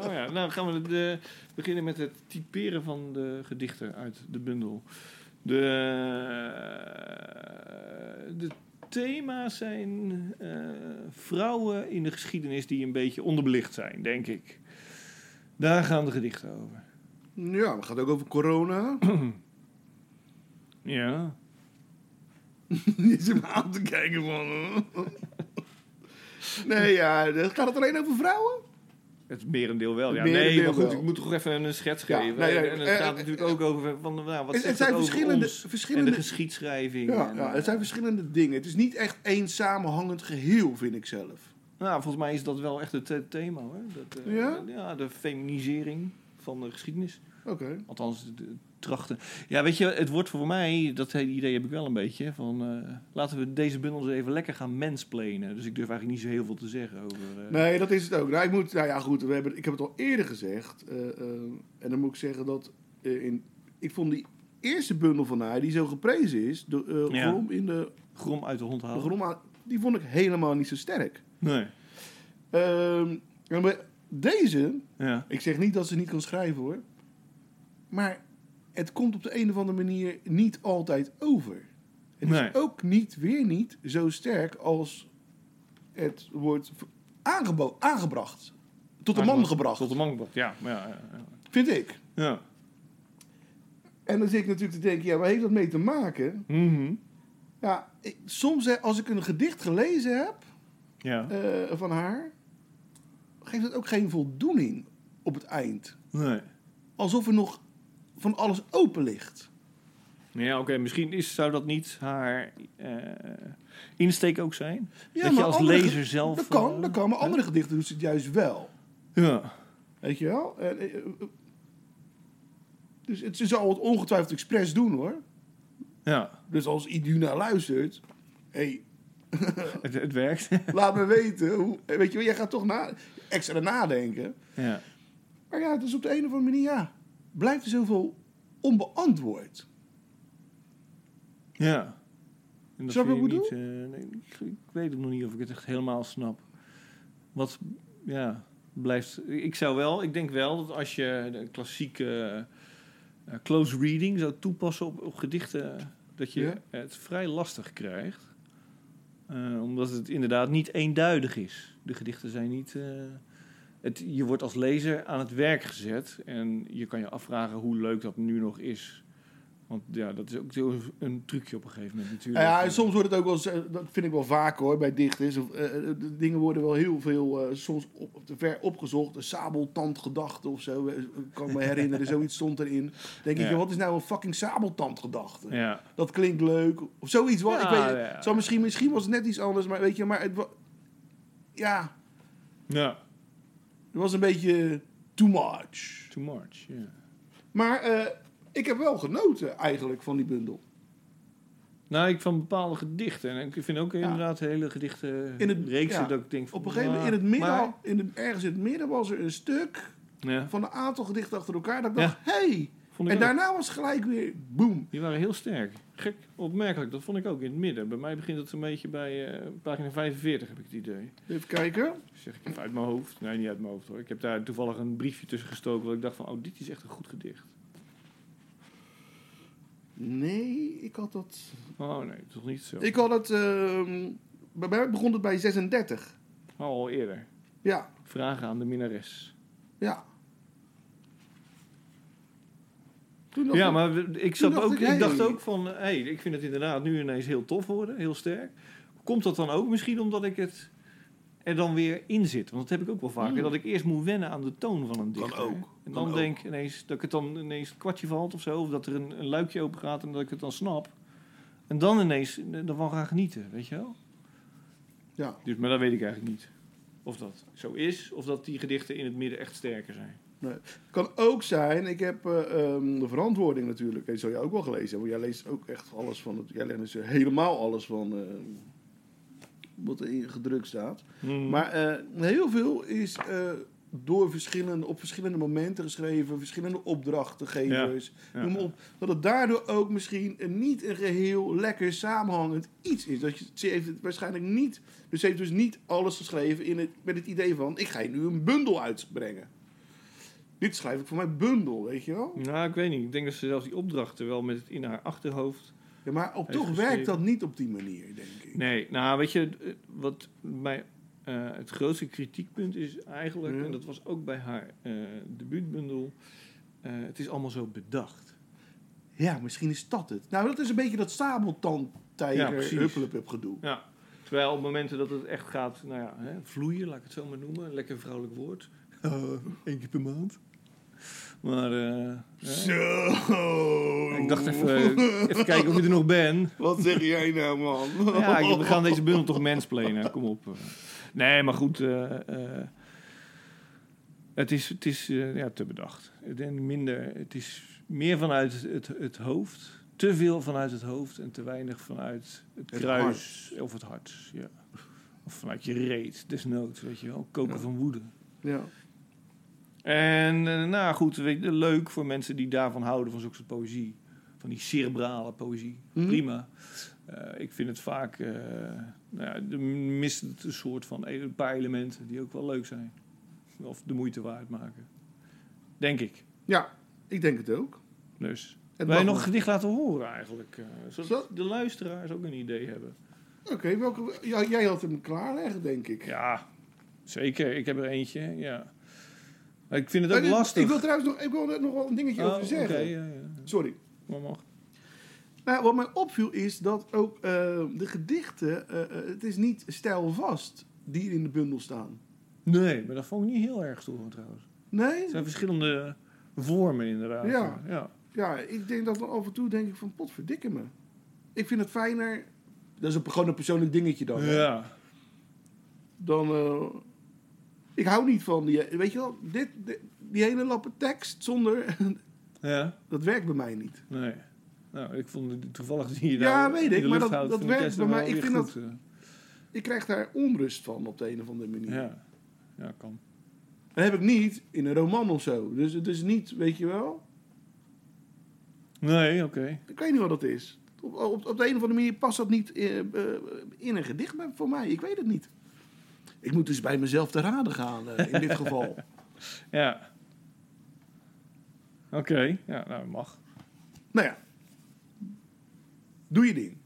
S5: Oh ja, nou gaan we het, eh, beginnen met het typeren van de gedichten uit de bundel. De, eh, de thema's zijn eh, vrouwen in de geschiedenis die een beetje onderbelicht zijn, denk ik. Daar gaan de gedichten over.
S6: Ja, het gaat ook over corona.
S5: Ja.
S6: Niet zo maar aan te kijken van... eh. Nee, ja, dan gaat het alleen over vrouwen?
S5: Het merendeel wel. Ja,
S6: merendeel
S5: nee, maar goed,
S6: wel.
S5: ik moet toch even een schets
S6: Ja,
S5: geven.
S6: nee, nee,
S5: en het
S6: eh,
S5: gaat
S6: eh,
S5: natuurlijk ook over van, nou, wat
S6: het-
S5: zegt
S6: het zijn
S5: dat over
S6: verschillende-
S5: ons
S6: verschillende-
S5: en de geschiedschrijving.
S6: Ja,
S5: en, eh,
S6: ja, het zijn verschillende dingen. Het is niet echt één samenhangend geheel, vind ik zelf.
S5: Nou, volgens mij is dat wel echt het eh, thema hoor. Dat, eh,
S6: Ja?
S5: de feminisering van de geschiedenis.
S6: Oké.
S5: Althans, de, de trachten. Ja, weet je, het wordt voor mij, dat hele idee heb ik wel een beetje, van eh, laten we deze bundels even lekker gaan mensplenen. Dus ik durf eigenlijk niet zo heel veel te zeggen over... eh,
S6: Nee, dat is het ook. Nou, ik moet, nou ja, goed, we hebben, ik heb het al eerder gezegd. eh, eh, en dan moet ik zeggen dat eh, in, ik vond die eerste bundel van haar, die zo geprezen is, de eh,
S5: Ja. Oh.
S6: Grom in de,
S5: Grom uit de hond
S6: de
S5: halen.
S6: Grom aan- die vond ik helemaal niet zo sterk.
S5: Nee.
S6: Ehm, en bij deze,
S5: Ja.
S6: ik zeg niet dat ze niet kan schrijven hoor, maar het komt op de een of andere manier niet altijd over. Het
S5: Nee.
S6: is ook niet, weer niet, zo sterk als het wordt aangebo- aangebracht. Tot de man gebracht.
S5: Tot de man gebracht, ja. maar ja, ja, ja.
S6: Vind ik.
S5: ja.
S6: En dan zit ik natuurlijk te denken, ja, waar heeft dat mee te maken?
S5: Mhm.
S6: Ja, ik- soms hè, als ik een gedicht gelezen heb
S5: ja.
S6: eh, van haar, geeft het ook geen voldoening op het eind.
S5: Nee.
S6: Alsof er nog van alles open ligt.
S5: Ja, oké. Misschien is, zou dat niet haar eh, insteek ook zijn.
S6: Ja,
S5: dat je
S6: maar
S5: als
S6: andere
S5: lezer
S6: ge-
S5: zelf...
S6: Dat kan,
S5: eh,
S6: dat kan. Maar andere gedichten doet ze het juist wel.
S5: Ja.
S6: Weet je wel? Eh, eh, eh, Dus het, ze zal het ongetwijfeld expres doen hoor.
S5: ja.
S6: Dus als Iduna luistert. Hé,
S5: Het, het werkt.
S6: laat me weten. Hoe, eh, weet je wel, jij gaat toch na, extra nadenken.
S5: ja.
S6: Maar ja, het is op de een of andere manier, ja. Blijft er zoveel onbeantwoord.
S5: Ja. En dat
S6: Snap je
S5: vind
S6: wat ik
S5: niet, eh, nee, ik, ik weet het nog niet of ik het echt helemaal snap. Wat, ja, blijft... Ik zou wel, ik denk wel dat als je de klassieke eh, close reading zou toepassen op, op gedichten... dat je
S6: Ja.
S5: het vrij lastig krijgt. Eh, omdat het inderdaad niet eenduidig is. De gedichten zijn niet... eh, het, je wordt als lezer aan het werk gezet. En je kan je afvragen hoe leuk dat nu nog is... Want ja, dat is ook zo een trucje op een gegeven moment natuurlijk.
S6: Nou Ja, en soms wordt het ook wel, eens, eh, dat vind ik wel vaak hoor, bij dichters. Of, eh, eh, de dingen worden wel heel veel, eh, soms op, op de ver opgezocht. Een sabeltandgedachte of zo, eh, kan ik me herinneren. Zoiets stond erin. Dan denk ik,
S5: Ja.
S6: joh, wat is nou een fucking sabeltandgedachte?
S5: Ja,
S6: Dat klinkt leuk. Of zoiets. Wel,
S5: Ja,
S6: ik weet, het.
S5: ja.
S6: het zou misschien, misschien was het net iets anders, maar weet je, maar het wa- ja,
S5: ja.
S6: het was een beetje too much.
S5: too much. ja.
S6: Maar eh, ik heb wel genoten eigenlijk van die bundel.
S5: Nou, ik van bepaalde gedichten. En ik vind ook inderdaad hele gedichten
S6: In het-
S5: reeksen
S6: ja.
S5: dat ik denk van...
S6: Op een gegeven moment,
S5: nou,
S6: in het midden,
S5: maar-
S6: in het, ergens in het midden was er een stuk
S5: ja,
S6: van een aantal gedichten achter elkaar. Dat ik
S5: Ja.
S6: dacht, hey.
S5: vond ik
S6: En
S5: ook.
S6: daarna was het gelijk weer boom.
S5: Die waren heel sterk. Gek, opmerkelijk. Dat vond ik ook in het midden. Bij mij begint het een beetje bij eh, pagina 45, heb ik het idee.
S6: Even kijken.
S5: Zeg ik even uit mijn hoofd. Nee, niet uit mijn hoofd hoor. Ik heb daar toevallig een briefje tussen gestoken... waar ik dacht van, oh, dit is echt een goed gedicht.
S6: Nee, ik had dat...
S5: Oh nee, toch niet zo.
S6: Ik had het... ehm, bij mij begon het bij 36.
S5: Oh, al eerder.
S6: Ja,
S5: Vragen aan de minnares.
S6: ja. Toen dacht
S5: Ja,
S6: ik-
S5: maar we- ik,
S6: Toen
S5: zat
S6: dacht
S5: ook,
S6: ik,
S5: ik,
S6: hey.
S5: dacht ook van, hé, hey, ik vind het inderdaad nu ineens heel tof worden, heel sterk. Komt dat dan ook misschien omdat ik het er dan weer in zit? Want dat heb ik ook wel vaker,
S6: Hmm.
S5: dat ik eerst moet wennen aan de toon van een dichter.
S6: ook,
S5: En
S6: kan
S5: dan
S6: ook.
S5: denk ik ineens dat ik het dan ineens het kwartje valt of zo, of dat er een, een luikje open gaat en dat ik het dan snap. En dan ineens eh, ervan gaan genieten, weet je wel?
S6: Ja.
S5: Dus, maar dat weet ik eigenlijk niet. Of dat zo is, of dat die gedichten in het midden echt sterker zijn.
S6: Kan ook zijn, ik heb eh, ehm, de verantwoording natuurlijk, die zou jij ook wel gelezen hebben. want Jij leest ook echt alles van, het, jij leest er helemaal alles van ehm, wat er gedrukt staat.
S5: Mm.
S6: Maar eh, heel veel is eh, door verschillende, op verschillende momenten geschreven, verschillende opdrachtengevers,
S5: Ja,
S6: noem maar
S5: ja.
S6: op. Dat het daardoor ook misschien een- niet een geheel lekker samenhangend iets is. Dat je, ze heeft het waarschijnlijk niet, dus ze heeft dus niet alles geschreven in het, met het idee van, ik ga hier nu een bundel uitbrengen. Dit schrijf ik voor mijn bundel, weet je wel?
S5: Nou, ik weet niet. Ik denk dat ze zelfs die opdrachten wel met het in haar achterhoofd.
S6: Ja, maar op,
S5: Heeft
S6: toch
S5: geschreven.
S6: werkt dat niet op die manier, denk ik.
S5: Nee, nou, weet je, eh, wat mijn, eh, het grootste kritiekpunt is eigenlijk,
S6: Ja.
S5: en dat was ook bij haar eh debuutbundel, eh, het is allemaal zo bedacht.
S6: Ja, misschien is dat het. Nou, dat is een beetje dat
S5: Ja,
S6: sabeltandtijger
S5: precies.
S6: huppelepup gedoe.
S5: Ja. Terwijl op momenten dat het echt gaat, nou ja, hè, vloeien, laat ik het zo maar noemen, lekker vrouwelijk woord. Eén Eh, keer per maand. Maar eh, ja.
S6: Zo!
S5: ik dacht even, eh, even kijken of ik er nog ben.
S6: Wat zeg jij nou, man?
S5: Ja, ik- we gaan deze bundel toch mansplainen, kom op. Nee, maar goed. eh, eh, het is, het is eh, ja, te bedacht. Het, en minder, het is meer vanuit het, het hoofd. Te veel vanuit het hoofd en te weinig vanuit het
S6: Het
S5: kruis of het hart. Ja. Of vanuit je reet, desnoods, weet je wel. Koken van woede.
S6: Ja.
S5: En eh, nou goed, weet je, leuk voor mensen die daarvan houden, van zulke soort poëzie. Van die cerebrale poëzie.
S6: Mhm.
S5: Prima. Eh, ik vind het vaak, eh nou ja, de- mist het een soort van e- een paar elementen die ook wel leuk zijn. Of de moeite waard maken. Denk ik.
S6: ja, ik denk het ook.
S5: Dus.
S6: Het
S5: Wil je
S6: mag
S5: nog een
S6: wel.
S5: gedicht laten horen eigenlijk? eh, zodat
S6: Zo.
S5: de luisteraars ook een idee hebben.
S6: Oké, welke... ja, jij had hem klaarleggen, denk ik.
S5: Ja, zeker. Ik heb er eentje. Ja. Maar Ik vind het ook
S6: En ik-
S5: lastig.
S6: Eh, Ik wil trouwens nog, ik wil er nog wel een dingetje
S5: Oh,
S6: over zeggen.
S5: Oké, ja, ja.
S6: Sorry.
S5: Maar mag.
S6: Nou, wat mij opviel is dat ook eh, de gedichten... eh, eh, het is niet stijlvast die in de bundel staan.
S5: Nee, maar dat vond ik niet heel erg storend trouwens.
S6: Nee?
S5: Het zijn verschillende vormen inderdaad.
S6: Ja.
S5: ja.
S6: Ja, ik denk dat dan af en toe denk ik van potverdikke me. Ik vind het fijner. Dat is een, gewoon een persoonlijk dingetje dan.
S5: Ja.
S6: Dan. eh, ik hou niet van die. Weet je wel, dit, dit- die hele lappe tekst zonder.
S5: Ja.
S6: dat werkt bij mij niet.
S5: Nee. Nou, ik vond het toevallig die je
S6: Ja,
S5: daar
S6: weet
S5: in de
S6: ik, maar
S5: lucht
S6: dat-
S5: houdt
S6: dat
S5: van de
S6: werkt
S5: kerst
S6: bij
S5: wel
S6: mij. Ik
S5: weer
S6: vind
S5: goed,
S6: Ik krijg daar onrust van op de een of andere
S5: eh,
S6: manier.
S5: Ja. Ja, kan.
S6: Dat heb ik niet in een roman of zo. Dus het is niet, weet je wel.
S5: Nee, oké.
S6: Ik weet niet wat dat is. Op, op, op de een of andere manier past dat niet eh, eh, in een gedicht bij- voor mij. Ik weet het niet. Ik moet dus bij mezelf te raden gaan eh, in dit geval.
S5: Ja. Oké. Ja, nou, mag.
S6: Nou ja. Doe je ding.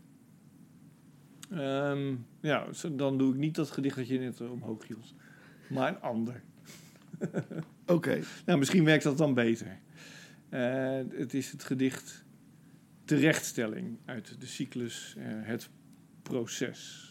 S5: Ehm, ja, zo- dan doe ik niet dat gedicht dat je net eh, omhoog hield. Maar een ander.
S6: Oké.
S5: Nou, misschien werkt dat dan beter. Eh, het is het gedicht Terechtstelling uit de cyclus eh, Het Proces.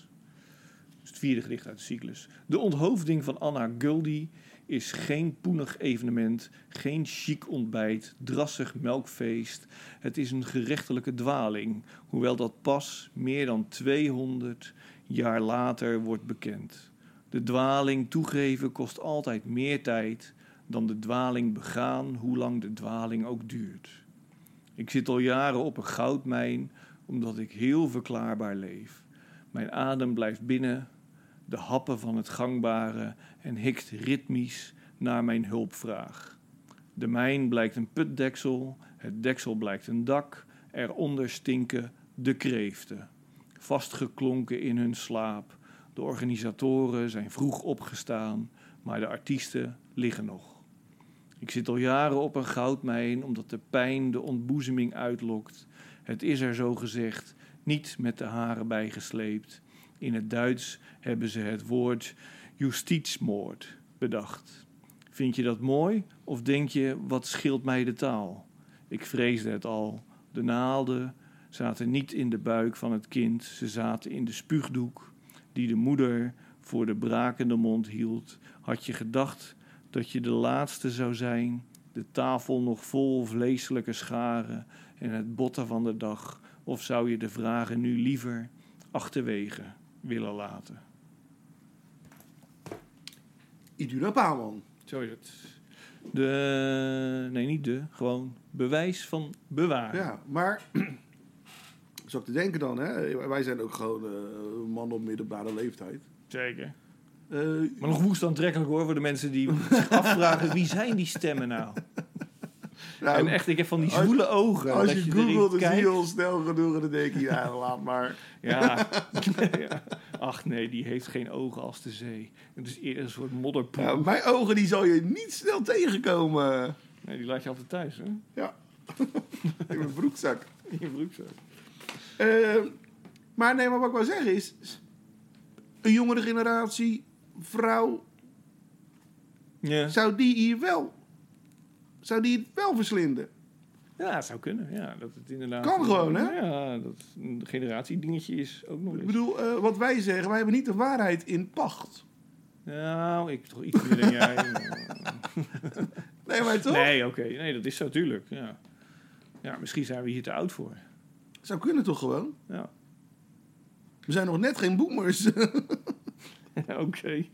S5: Dus het vierde gedicht uit de cyclus. De onthoofding van Anna Guldi is geen poenig evenement, geen chic ontbijt, drassig melkfeest. Het is een gerechtelijke dwaling, hoewel dat pas meer dan 200 jaar later wordt bekend. De dwaling toegeven kost altijd meer tijd dan de dwaling begaan, hoe lang de dwaling ook duurt. Ik zit al jaren op een goudmijn, omdat ik heel verklaarbaar leef. Mijn adem blijft binnen, de happen van het gangbare en hikt ritmisch naar mijn hulpvraag. De mijn blijkt een putdeksel, het deksel blijkt een dak, eronder stinken de kreeften. Vastgeklonken in hun slaap, de organisatoren zijn vroeg opgestaan, maar de artiesten liggen nog. Ik zit al jaren op een goudmijn omdat de pijn de ontboezeming uitlokt. Het is er zo gezegd niet met de haren bijgesleept. In het Duits hebben ze het woord justitiesmoord bedacht. Vind je dat mooi of denk je wat scheelt mij de taal? Ik vreesde het al. De naalden zaten niet in de buik van het kind, ze zaten in de spuugdoek die de moeder voor de brakende mond hield. Had je gedacht dat je de laatste zou zijn, de tafel nog vol vleeselijke scharen en het botten van de dag, of zou je de vragen nu liever achterwege willen laten?
S6: Iduna Paman.
S5: Zo is het. De, nee niet de, gewoon bewijs van bewaren.
S6: Ja, maar. Zou ik te denken dan, hè? Wij zijn ook gewoon eh, mannen op middelbare leeftijd.
S5: Zeker.
S6: Eh,
S5: Maar nog woest aantrekkelijk hoor, voor de mensen die zich afvragen wie zijn die stemmen nou?
S6: nou,
S5: en echt, ik heb van die
S6: als-
S5: zwoele ogen.
S6: als
S5: dat
S6: je,
S5: erin
S6: googelt, dan zie
S5: kijkt.
S6: je al snel genoeg en dan denk je, ja, laat maar.
S5: Ja. Ja. Ach nee, die heeft geen ogen als de zee. Het is eerder een soort modderpoel.
S6: Ja, mijn ogen, die zal je niet snel tegenkomen.
S5: Nee, die laat je altijd thuis, hè?
S6: Ja, in mijn broekzak.
S5: In je broekzak.
S6: Eh, maar nee, maar wat ik wil zeggen is... s- Een jongere generatie, vrouw,
S5: Ja.
S6: zou die hier wel... Zou die het wel verslinden?
S5: ja, het zou kunnen. Ja, dat het inderdaad...
S6: Kan gewoon, hè?
S5: Ja, dat het een generatiedingetje is ook nog
S6: Ik
S5: eens.
S6: bedoel, eh, wat wij zeggen, wij hebben niet de waarheid in pacht.
S5: Nou, ik toch iets meer dan jij.
S6: Nee, maar toch?
S5: nee, oké. Nee, dat is zo, tuurlijk. Ja. ja, misschien zijn we hier te oud voor.
S6: Zou kunnen toch gewoon?
S5: Ja,
S6: We zijn nog net geen boomers.
S5: oké.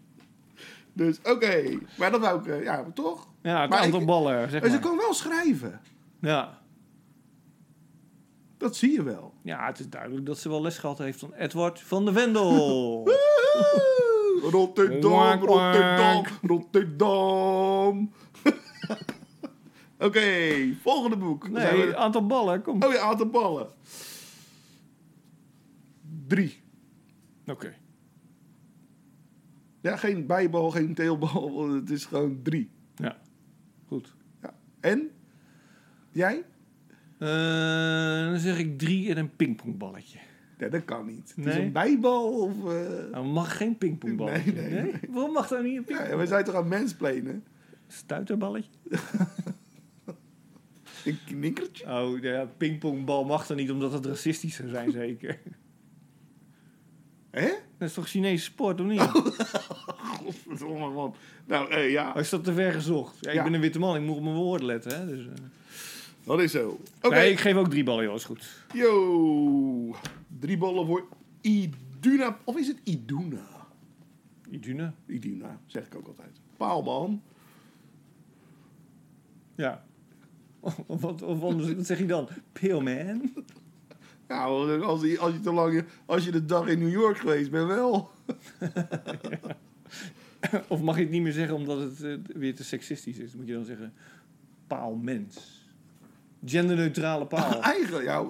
S6: dus oké. Maar dat wou ik... eh, ja, maar toch?
S5: Ja, het
S6: Maar
S5: aantal
S6: ik- Oh,
S5: ballen, zeg
S6: En ze
S5: maar.
S6: kan wel schrijven.
S5: Ja.
S6: Dat zie je wel.
S5: ja, het is duidelijk dat ze wel les gehad heeft van Edward van de Wendel.
S6: Woehoe! Rotterdam,
S5: Kwak, kwak.
S6: Rotterdam, Rotterdam. Oké, volgende boek. Dan zijn
S5: Nee,
S6: we-
S5: het aantal ballen, kom.
S6: Oh ja, aantal ballen. Drie.
S5: Oké.
S6: Ja, geen bijbal, geen teelbal. want Het is gewoon drie.
S5: Ja, goed.
S6: Ja. En? Jij?
S5: Eh, dan zeg ik drie in een pingpongballetje.
S6: Nee, dat kan niet. Het is
S5: Nee.
S6: een bijbal of... eh,
S5: Nou, mag geen pingpongballetje.
S6: Nee,
S5: Nee,
S6: nee,
S5: Waarom mag dat niet een
S6: Ja,
S5: pingpongballetje?
S6: we zijn toch aan mensplenen?
S5: Stuiterballetje?
S6: Een knikkertje?
S5: Oh, ja, pingpongbal mag dan niet, omdat het racistisch zou zijn, zeker.
S6: Hè?
S5: Dat is toch Chinese sport, of niet?
S6: Godverdomme, man. Nou, eh, ja.
S5: Oh, is dat te ver gezocht? Ja, ik
S6: Ja.
S5: ben een witte man, ik moet op mijn woorden letten. Hè? Dus, eh,
S6: Dat is zo. Oké,
S5: Nee, ik geef ook drie ballen, joh, is goed.
S6: yo. Drie ballen voor Iduna. Of is het Iduna?
S5: Iduna?
S6: Iduna, zeg ik ook altijd. Paalman.
S5: Ja. Of, wat, of anders, wat zeg je dan? Pillman?
S6: Nou, als, die- als, je te lang, als je de dag in New York geweest bent, wel.
S5: Of mag je het niet meer zeggen omdat het eh, weer te seksistisch is? Moet je dan zeggen paalmens. Genderneutrale paal.
S6: Eigenlijk, ja.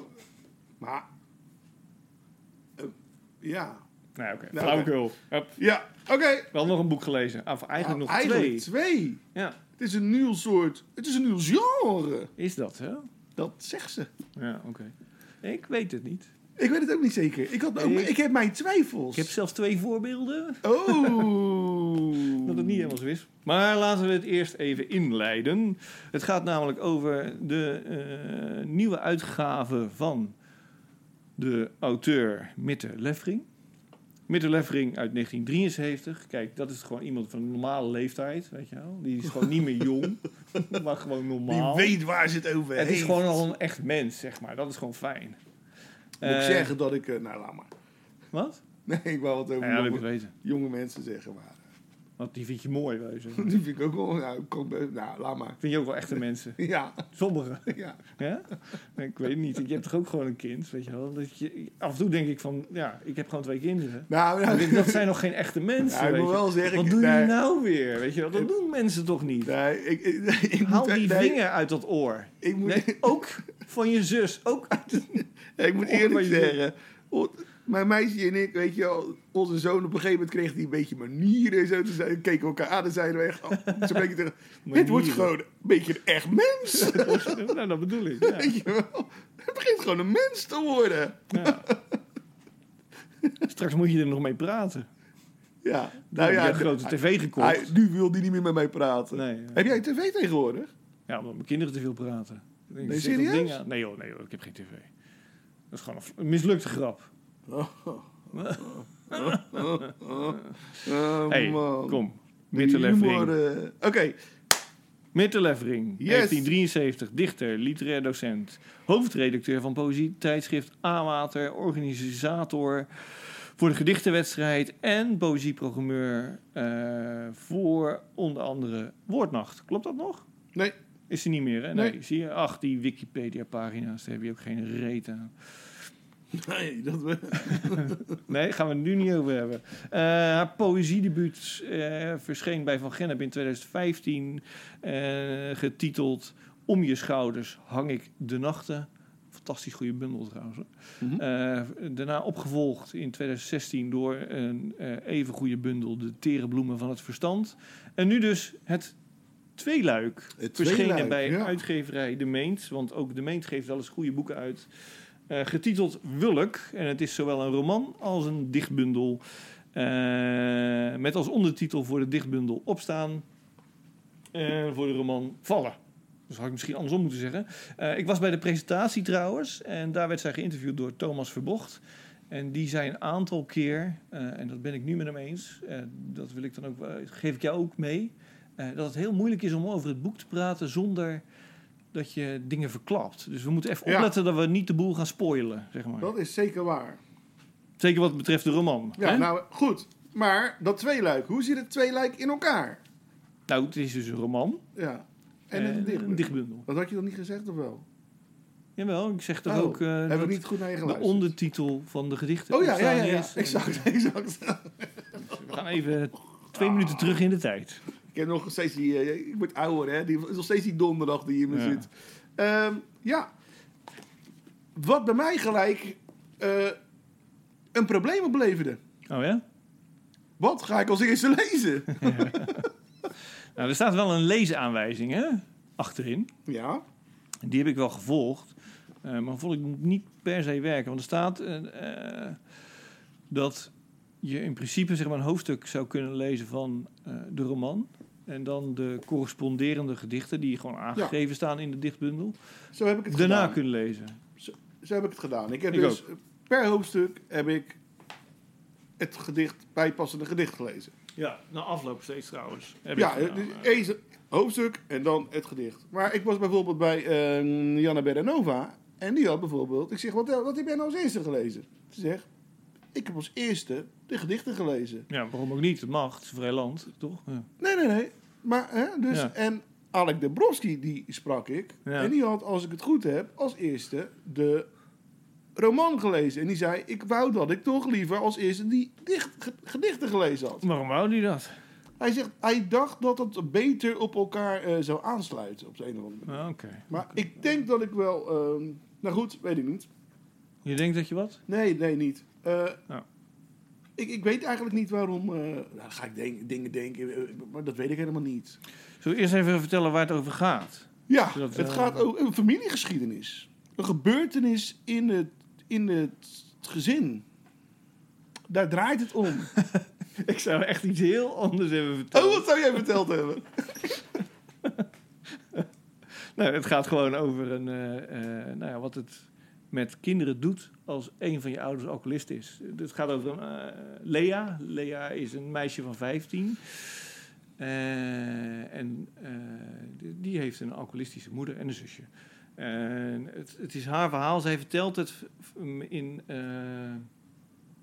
S6: Maar. eh, ja.
S5: nou ja, oké.
S6: Nou,
S5: Flauwekul. Hup.
S6: Ja, oké.
S5: Wel nog een boek gelezen. Of Ah, eigenlijk nog
S6: Eigenlijk
S5: twee.
S6: twee.
S5: Ja,
S6: Het is een nieuw soort. Het is een nieuw genre.
S5: is dat hè?
S6: Dat zegt ze.
S5: Ja, oké. Ik weet het niet.
S6: Ik weet het ook niet zeker. Ik, had ook,
S5: Ik-
S6: ik heb mijn twijfels.
S5: Ik heb zelfs twee voorbeelden.
S6: Oh.
S5: Dat het niet helemaal zo is. Maar laten we het eerst even inleiden. Het gaat namelijk over de eh, nieuwe uitgave van de auteur Mitte Leffering. Mitte Leffering uit 1973. Kijk, dat is gewoon iemand van een normale leeftijd, weet je wel. Die is gewoon niet meer jong, maar gewoon
S6: Wie
S5: normaal.
S6: weet waar ze het over
S5: Het is
S6: heeft.
S5: gewoon al een echt mens, zeg maar. Dat is gewoon fijn.
S6: Moet ik
S5: Eh,
S6: zeggen dat ik... eh, nou, laat maar.
S5: Wat?
S6: Nee, ik wou wat over
S5: Ja, dat wil ik
S6: jonge,
S5: weten.
S6: jonge mensen zeggen. Maar
S5: Want die vind je mooi, weet je.
S6: eh, die vind ik ook wel... Nou, kan best- nou laat maar.
S5: Vind je ook wel echte mensen.
S6: Ja,
S5: Sommigen.
S6: ja.
S5: Ja? Ik weet niet. Je hebt toch ook gewoon een kind, weet je wel? Dat je, af en toe denk ik van, ja, ik heb gewoon twee kinderen.
S6: Nou,
S5: Ik
S6: nou,
S5: denk, dat zijn nog geen echte mensen,
S6: Ja, ik
S5: weet
S6: moet
S5: je.
S6: wel zeggen,
S5: Wat
S6: ik-
S5: doen jullie
S6: nee.
S5: nou weer, weet je wel? Dat doen mensen toch niet?
S6: nee, ik, ik, ik, moet-
S5: Haal die
S6: nee,
S5: vinger uit dat oor.
S6: Ik moet,
S5: Nee, ook van je zus. Ook uit het-
S6: ik moet
S5: Oh, maar
S6: eerlijk
S5: je-
S6: zeggen. on- Mijn meisje en ik, weet je wel, onze zoon op een gegeven moment kreeg die een beetje manieren en zo. Toen zeiden- keken we elkaar aan en zeiden we echt, oh, zo'n beetje tegen, dit wordt
S5: Manieren.
S6: gewoon een beetje een echt mens.
S5: nou, dat bedoel ik. Ja.
S6: Weet je wel? Het begint gewoon een mens te worden.
S5: Ja. Straks moet je er nog mee praten.
S6: Ja,
S5: Nou
S6: nou ja.
S5: een grote tv
S6: hij,
S5: gekocht.
S6: nu wil die niet meer met mij praten.
S5: Nee, ja.
S6: Heb jij tv tegenwoordig?
S5: Ja, omdat mijn kinderen te veel praten. Ik denk,
S6: Nee,
S5: zet dat ding
S6: serieus?
S5: aan. Nee joh, nee joh, ik heb geen tv. Dat is gewoon een v- een mislukte grap.
S6: Oh,
S5: Eh, Hey,
S6: man.
S5: kom.
S6: Die
S5: Mitte
S6: humor,
S5: Leffering.
S6: eh, Oké,
S5: Mitte Leffering,
S6: Yes.
S5: 1973, dichter, literair docent, hoofdredacteur van Poëzie, tijdschrift A-Water, organisator voor de gedichtenwedstrijd en poëzieprogrammeur eh, voor onder andere Woordnacht. Klopt dat nog?
S6: nee.
S5: Is hij niet meer, hè? Nee.
S6: Nee.
S5: Zie je? Ach, die Wikipedia-pagina's, daar heb je ook geen reet aan.
S6: Nee, dat we...
S5: Nee, gaan we het nu niet over hebben. Eh, haar poëziedebuut eh, verscheen bij Van Gennep in 2015. eh, getiteld Om je schouders hang ik de nachten. Fantastisch goede bundel trouwens. hoor.
S6: Mhm.
S5: Eh, daarna opgevolgd in 2016 door een eh, even goede bundel... De tere bloemen van het verstand. En nu dus het tweeluik.
S6: Het
S5: verschenen
S6: tweeluik,
S5: bij
S6: ja.
S5: uitgeverij De Meent. Want ook De Meent geeft wel eens goede boeken uit. Eh, getiteld Wulk. En het is zowel een roman als een dichtbundel. Eh, met als ondertitel voor de dichtbundel Opstaan. En voor de roman Vallen. Dat Dus had ik misschien andersom moeten zeggen. Eh, ik was bij de presentatie trouwens. En daar werd zij geïnterviewd door Thomas Verbocht. En die zei een aantal keer, eh, en dat ben ik nu met hem eens, eh, dat wil ik dan ook, wel- geef ik jou ook mee, eh, dat het heel moeilijk is om over het boek te praten zonder dat je dingen verklapt. Dus we moeten even
S6: Ja.
S5: opletten dat we niet de boel gaan spoilen, zeg maar.
S6: Dat is zeker waar.
S5: Zeker wat betreft de roman.
S6: Ja,
S5: hè? nou,
S6: nou goed. Maar dat tweeluik, hoe zit het tweeluik in elkaar?
S5: het is dus een roman
S6: Ja. En
S5: en,
S6: het
S5: Eh, een
S6: dichtbundel.
S5: dichtbundel.
S6: Dat had je dan niet gezegd of wel?
S5: Jawel, ik zeg toch
S6: Oh,
S5: ook eh,
S6: Heb
S5: dat
S6: ik niet goed naar je
S5: de
S6: geluisterd?
S5: ondertitel van de gedichten
S6: Oh ja, ja, ja, ja.
S5: is.
S6: Exact, exact.
S5: We gaan even twee minuten terug in de tijd.
S6: ik heb nog steeds die... eh, ik word ouder, hè. Die, is nog steeds die donderdag die in me
S5: Ja.
S6: zit. Ehm, ja. Wat bij mij gelijk eh, een probleem opleverde.
S5: Oh ja?
S6: Wat ga ik als eerste lezen?
S5: Nou, er staat wel een leesaanwijzing, hè? Achterin.
S6: ja.
S5: Die heb ik wel gevolgd. eh, maar vond ik moet niet per se werken. Want er staat eh, eh, dat je in principe zeg maar, een hoofdstuk zou kunnen lezen van eh, de roman. En dan de corresponderende gedichten die gewoon aangegeven staan in de dichtbundel.
S6: Zo heb ik het
S5: Daarna
S6: gedaan.
S5: kunnen lezen.
S6: Zo heb ik het gedaan. Ik heb
S5: Ik
S6: dus per hoofdstuk heb ik het gedicht, bijpassende gedicht gelezen.
S5: Ja, na afloop steeds trouwens. Heb
S6: Ja,
S5: ik gedaan,
S6: dus
S5: maar-
S6: eens een hoofdstuk en dan het gedicht. Maar ik was bijvoorbeeld bij eh, Janna Berenova. En die had bijvoorbeeld... Ik zeg, wat, wat heb jij nou als eerste gelezen? Ze zegt, ik heb als eerste de gedichten gelezen.
S5: ja, waarom ook niet? Het mag, het is een vrij land, toch? Ja.
S6: Nee, nee, nee. Maar, hè, dus...
S5: Ja.
S6: En Alek Dabrowski, die sprak ik.
S5: Ja.
S6: En die had, als ik het goed heb, als eerste de roman gelezen. En die zei, ik wou dat ik toch liever als eerste die dicht, ge- gedichten gelezen had.
S5: Waarom wou die dat?
S6: Hij zegt, hij dacht dat het beter op elkaar eh, zou aansluiten op de een of andere manier.
S5: Ah, Oké.
S6: Maar ik denk dat ik wel... ehm, nou goed, weet ik niet.
S5: Je denkt dat je wat?
S6: Nee, nee, niet. Eh,
S5: Nou.
S6: ik, ik weet eigenlijk niet waarom... eh, nou, dan ga ik denk- dingen denken, eh, maar dat weet ik helemaal niet.
S5: Zullen we eerst even vertellen waar het over gaat?
S6: Ja,
S5: Dat,
S6: het
S5: eh,
S6: gaat over een familiegeschiedenis. Een gebeurtenis in het, in het gezin. Daar draait het om.
S5: Ik zou echt iets heel anders hebben
S6: Oh,
S5: verteld.
S6: wat zou jij verteld hebben?
S5: Nou, het gaat gewoon over een, eh, eh, nou ja, wat het met kinderen doet als een van je ouders alcoholist is. Het gaat over een, eh, Lea. Lea is een meisje van 15. Eh, en eh, die- die heeft een alcoholistische moeder en een zusje. En het, het is haar verhaal. Zij vertelt het v- in eh,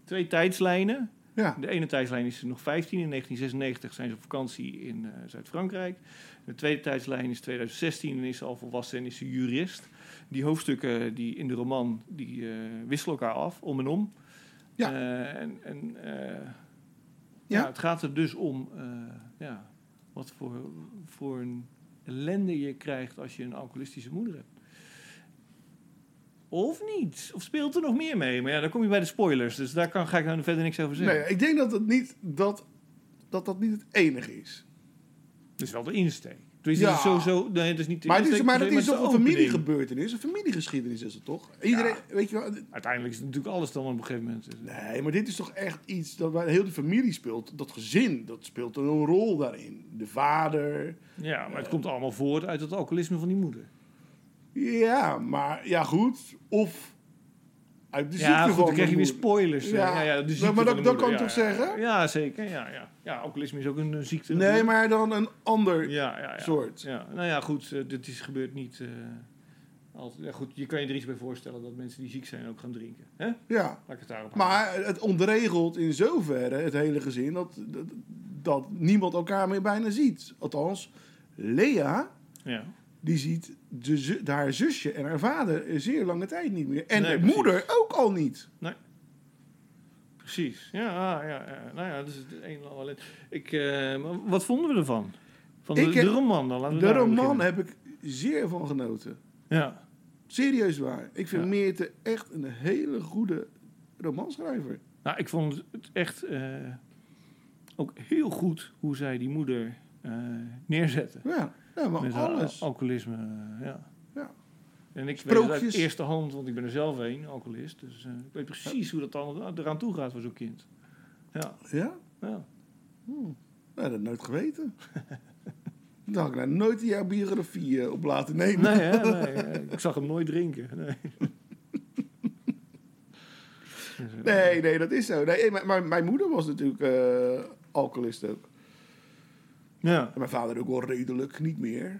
S5: twee tijdslijnen.
S6: Ja,
S5: De ene tijdslijn is nog 15. In 1996 zijn ze op vakantie in eh, Zuid-Frankrijk. De tweede tijdslijn is 2016 en is ze al volwassen en is ze jurist. Die hoofdstukken die in de roman die, eh, wisselen elkaar af, om en om.
S6: Ja.
S5: Eh, en en eh, ja.
S6: Ja.
S5: het gaat er dus om eh, ja, wat voor, voor een ellende je krijgt als je een alcoholistische moeder hebt. Of niet? Of speelt er nog meer mee? Maar ja, dan kom je bij de spoilers. Dus daar kan, ga ik nou verder niks over zeggen.
S6: nee, ik denk dat het niet, dat, dat, dat niet het enige is.
S5: Dat is wel de insteek. Dus
S6: Ja.
S5: is het sowieso, nee, dat is niet de
S6: Maar, het is,
S5: insteek,
S6: maar dat is
S5: het
S6: toch
S5: de
S6: een
S5: opening.
S6: familiegebeurtenis? Een familiegeschiedenis is het toch? Iedereen, weet je wel... het-
S5: Uiteindelijk is het natuurlijk alles dan op een gegeven moment. eh,
S6: Nee, maar dit is toch echt iets dat bij heel de familie speelt. Dat gezin, dat speelt een rol daarin. De vader,
S5: Ja, maar het komt allemaal voort uit het alcoholisme van die moeder.
S6: Ja, maar ja, goed. Of uit de ziekte
S5: ja, goed,
S6: van
S5: dan krijg je
S6: de
S5: weer
S6: moeder.
S5: spoilers. eh, Ja,
S6: Ja.
S5: ja, ja, de
S6: Maar-
S5: ziekte
S6: maar
S5: van
S6: dat-
S5: de
S6: dat kan
S5: moeder,
S6: ik
S5: ja,
S6: toch
S5: ja.
S6: zeggen?
S5: Ja, zeker. Ja, ja. ja, alcoholisme is ook een eh, ziekte.
S6: Nee, maar dan een ander.
S5: ja, ja, ja.
S6: soort.
S5: Ja. Nou ja, goed, eh, dit is, gebeurt niet eh, altijd. Ja, goed, je kan je er iets bij voorstellen dat mensen die ziek zijn ook gaan drinken. Hè?
S6: Ja.
S5: Laat ik het daarop houden.
S6: Maar het ontregelt in zoverre het hele gezin dat, dat, dat niemand elkaar meer bijna ziet. Althans, Lea,
S5: Ja.
S6: die ziet de, zu- haar zusje en haar vader zeer lange tijd niet meer. En
S5: Nee,
S6: haar
S5: precies.
S6: moeder ook al niet.
S5: Precies, ja, ja, ja. nou ja, dat is het een en ander ellende. Ik, eh, maar wat vonden we ervan? Van de,
S6: Ik heb-
S5: de roman dan? Laten we
S6: De
S5: daar
S6: roman
S5: beginnen.
S6: heb ik zeer van genoten.
S5: Ja,
S6: Serieus waar. Ik vind
S5: Ja.
S6: Meerte echt een hele goede romanschrijver.
S5: nou, ik vond het echt eh, ook heel goed hoe zij die moeder eh neerzetten.
S6: Ja, ja maar
S5: Met haar
S6: alles.
S5: al- alcoholisme, eh, ja.
S6: Ja.
S5: En ik weet het uit
S6: Sprookjes.
S5: eerste hand, want ik ben er zelf een, alcoholist. Dus eh, ik weet precies hoe dat dan eraan toe gaat voor zo'n kind. Ja,
S6: Ja?
S5: ja.
S6: Nou, dat nooit geweten. Dan had ik nou nooit jouw biografie eh, op laten nemen.
S5: Nee, hè, nee, eh, ik zag hem nooit drinken. Nee.
S6: Nee, nee, dat is zo. Nee, eh, maar, maar mijn moeder was natuurlijk eh, alcoholist ook.
S5: Ja.
S6: En mijn vader ook wel redelijk, niet meer.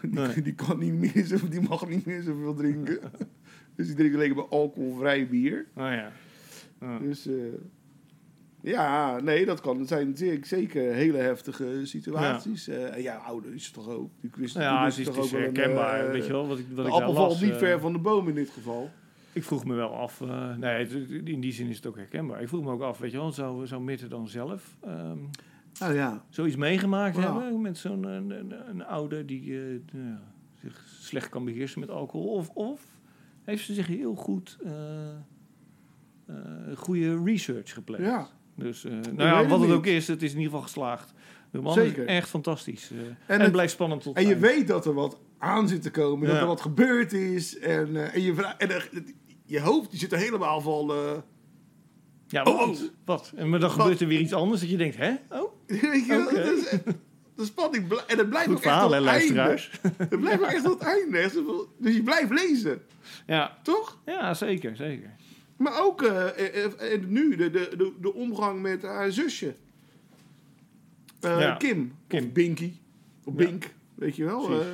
S6: Die,
S5: Nee.
S6: die, kan niet meer zo, die mag niet meer zoveel drinken. dus die drinkt alleen maar alcoholvrij bier.
S5: Oh ja. Ja.
S6: Dus eh, ja, nee, dat kan. Het zijn zeer- zeker hele heftige situaties. Ja, en ja ouder is het toch ook. Die wist,
S5: Nou
S6: die
S5: ja,
S6: wist
S5: het is,
S6: toch
S5: het is
S6: wel een,
S5: herkenbaar,
S6: eh,
S5: weet je wel, wat ik, wat
S6: De
S5: ik daar
S6: appel valt
S5: las.
S6: niet
S5: eh,
S6: ver van de boom in dit geval.
S5: Ik vroeg me wel af, eh, nee, het- het- in die zin is het ook herkenbaar. Ik vroeg me ook af, weet je wel, zou, zou Mitte dan zelf ehm,
S6: Oh ja.
S5: zoiets meegemaakt
S6: Ja.
S5: hebben met zo'n eh, een, een, een ouder die eh, nou ja, zich slecht kan beheersen met alcohol? Of, of heeft ze zich heel goed eh, eh, goede research gepland?
S6: Ja.
S5: Dus eh,
S6: weet
S5: nou ja,
S6: het
S5: wat het
S6: niet.
S5: ook is, het is in ieder geval geslaagd. De man
S6: Zeker.
S5: is echt fantastisch. eh, en
S6: het-
S5: blijft spannend tot
S6: En
S5: het
S6: je
S5: eind.
S6: weet dat er wat aan zit te komen,
S5: Ja.
S6: dat er wat gebeurd is. En, eh, en, je, vra- en er- je hoofd die zit er helemaal van. eh,
S5: Ja,
S6: Oh,
S5: wat?
S6: oh.
S5: Wat? En maar dan
S6: Wat?
S5: gebeurt er weer iets anders dat je denkt, hè? Oh,
S6: weet je wel,
S5: Oké.
S6: dat is echt- de spanning bl- En het blijft
S5: goed
S6: ook echt
S5: verhaal,
S6: tot
S5: hè,
S6: het einde.
S5: luisteraars?
S6: Het blijft ook echt tot het einde. Echt zo van- Dus je blijft lezen,
S5: Ja.
S6: toch?
S5: ja, zeker, zeker.
S6: eh, Maar ook eh, eh, eh, nu de, de, de, de omgang met haar zusje. Eh,
S5: Ja.
S6: Kim,
S5: Kim.
S6: Of Binky. Of
S5: Ja.
S6: Bink. Weet je wel.
S5: Precies.
S6: eh,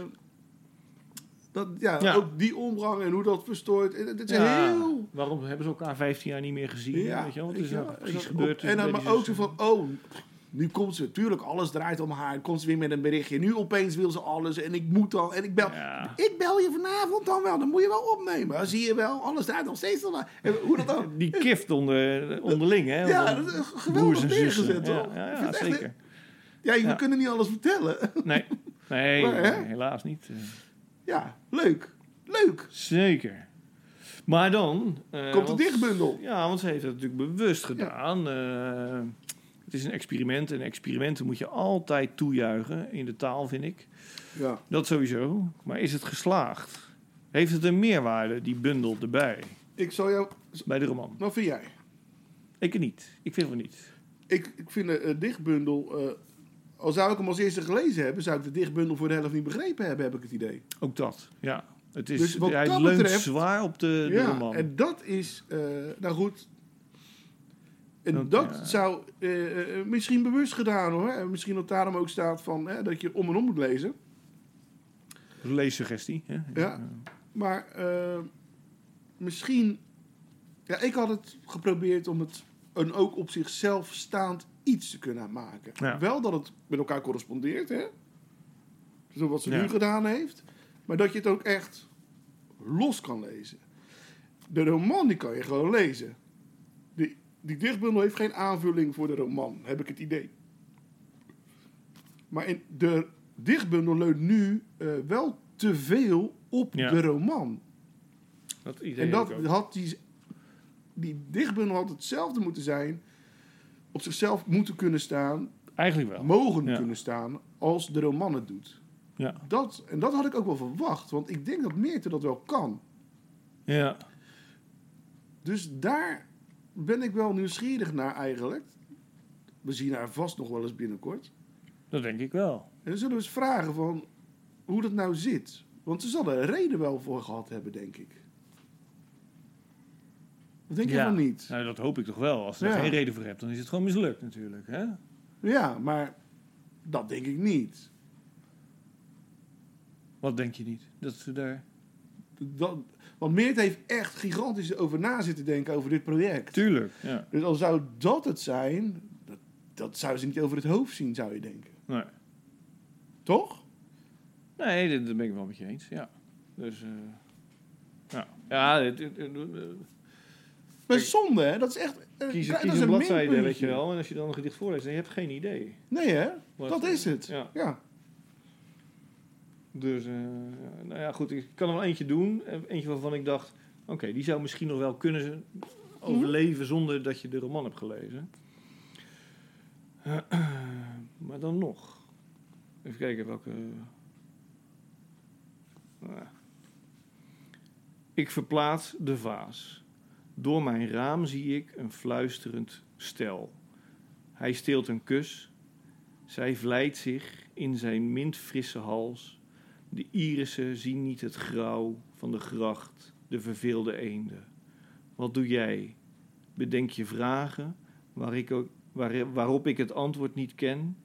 S6: dat, ja,
S5: Ja.
S6: ook die omgang en hoe dat verstoort. Eh, Dit is
S5: Ja,
S6: heel...
S5: Waarom hebben ze elkaar 15 jaar niet meer gezien? weet je wel? Wat
S6: weet
S5: is
S6: je
S5: er nou
S6: wel,
S5: precies
S6: en dan-
S5: gebeurd?
S6: En dan
S5: bij die
S6: maar ook zo
S5: zussen?
S6: van, oh, nu komt ze. Tuurlijk, alles draait om haar. Komt ze weer met een berichtje. Nu opeens wil ze alles. En ik moet dan. En ik bel.
S5: Ja.
S6: Ik bel je vanavond dan wel. Dan moet je wel opnemen. Dan zie je wel. Alles draait nog steeds om haar. En hoe dat dan?
S5: Die kift onder, eh, onderling, hè?
S6: Ja,
S5: Onder
S6: dat is
S5: broers
S6: geweldig
S5: en zussen.
S6: neergezet,
S5: Ja,
S6: toch?
S5: ja,
S6: Ik
S5: ja,
S6: vind het echt-
S5: zeker.
S6: Ja, we
S5: Ja.
S6: kunnen niet alles vertellen.
S5: Nee, nee,
S6: Maar, hè?
S5: nee, helaas niet. eh.
S6: Ja, leuk. Leuk.
S5: Zeker. Maar dan... eh,
S6: Komt de
S5: want-
S6: dichtbundel.
S5: Ja, want ze heeft het natuurlijk bewust gedaan. Eh, het is een experiment. En experimenten moet je altijd toejuichen in de taal, vind ik.
S6: Ja.
S5: Dat sowieso. Maar is het geslaagd? Heeft het een meerwaarde, die bundel erbij,
S6: Ik zal jou...
S5: bij de roman?
S6: Wat vind jij?
S5: Ik niet. Ik vind het niet.
S6: Ik, ik vind de eh, dichtbundel... eh, al zou ik hem als eerste gelezen hebben... zou ik de dichtbundel voor de helft niet begrepen hebben, heb ik het idee.
S5: Ook dat, ja. Het is,
S6: Dus wat
S5: hij
S6: dat
S5: leunt
S6: betreft-
S5: zwaar op de, de
S6: ja,
S5: roman.
S6: en dat is... eh, nou goed... En
S5: Dat,
S6: dat,
S5: ja.
S6: zou eh, eh, misschien bewust gedaan hoor. En misschien dat daarom ook staat van, hè, dat je om en om moet lezen.
S5: Leessuggestie. Hè?
S6: Ja. Maar eh, misschien... Ja, ik had het geprobeerd om het een ook op zichzelf staand iets te kunnen maken.
S5: Ja.
S6: Wel dat het met elkaar correspondeert, hè? Zo wat ze
S5: Ja.
S6: nu gedaan heeft. Maar dat je het ook echt los kan lezen. De roman, die kan je gewoon lezen. Die, die dichtbundel heeft geen aanvulling voor de roman, heb ik het idee. Maar in de dichtbundel leunt nu eh, wel te veel op
S5: Ja.
S6: de roman.
S5: Dat idee
S6: En
S5: heb
S6: dat
S5: ik ook.
S6: had die, die dichtbundel had hetzelfde moeten zijn. Op zichzelf moeten kunnen staan,
S5: Eigenlijk wel.
S6: mogen
S5: Ja.
S6: kunnen staan, als de roman het doet.
S5: Ja.
S6: Dat, en dat had ik ook wel verwacht, want ik denk dat Meerte dat wel kan.
S5: ja.
S6: Dus daar ben ik wel nieuwsgierig naar eigenlijk. We zien haar vast nog wel eens binnenkort.
S5: Dat denk ik wel.
S6: En dan zullen we eens vragen van hoe dat nou zit. Want ze zal er een reden wel voor gehad hebben, denk ik. Wat denk je
S5: Ja.
S6: van niet?
S5: Nou, dat hoop ik toch wel. Als je
S6: Ja.
S5: er geen reden voor hebt, dan is het gewoon mislukt natuurlijk. Hè?
S6: Ja, maar dat denk ik niet.
S5: Wat denk je niet? Dat ze daar...
S6: Dat, want Meert heeft echt gigantisch over na zitten denken over dit project.
S5: Tuurlijk. Ja.
S6: Dus al zou dat het zijn, dat, dat zou ze niet over het hoofd zien, zou je denken.
S5: Nee,
S6: Toch?
S5: nee dat, dat ben ik wel met je eens. Ja. Dus... eh, ja, ja het, het- het- het-
S6: Maar zonde, hè? Dat is echt... eh,
S5: kies,
S6: dat
S5: kies
S6: is
S5: een bladzijde,
S6: minpuntje.
S5: weet je wel. En als je dan een gedicht voorleest, dan heb je hebt geen idee.
S6: Nee, hè?
S5: Wat-
S6: dat is het.
S5: Ja.
S6: Ja.
S5: Dus, eh, ja, nou ja, goed. Ik kan er wel eentje doen. Eh, Eentje waarvan ik dacht... Oké, die zou misschien nog wel kunnen ze- overleven zonder dat je de roman hebt gelezen. Eh, maar dan nog. Even kijken welke... Nou. Ik verplaats de vaas. Door mijn raam zie ik een fluisterend stel. Hij steelt een kus... Zij vlijt zich in zijn mintfrisse hals. De irissen zien niet het grauw van de gracht, de verveelde eenden. Wat doe jij? Bedenk je vragen waar ik ook, waar, waarop ik het antwoord niet ken?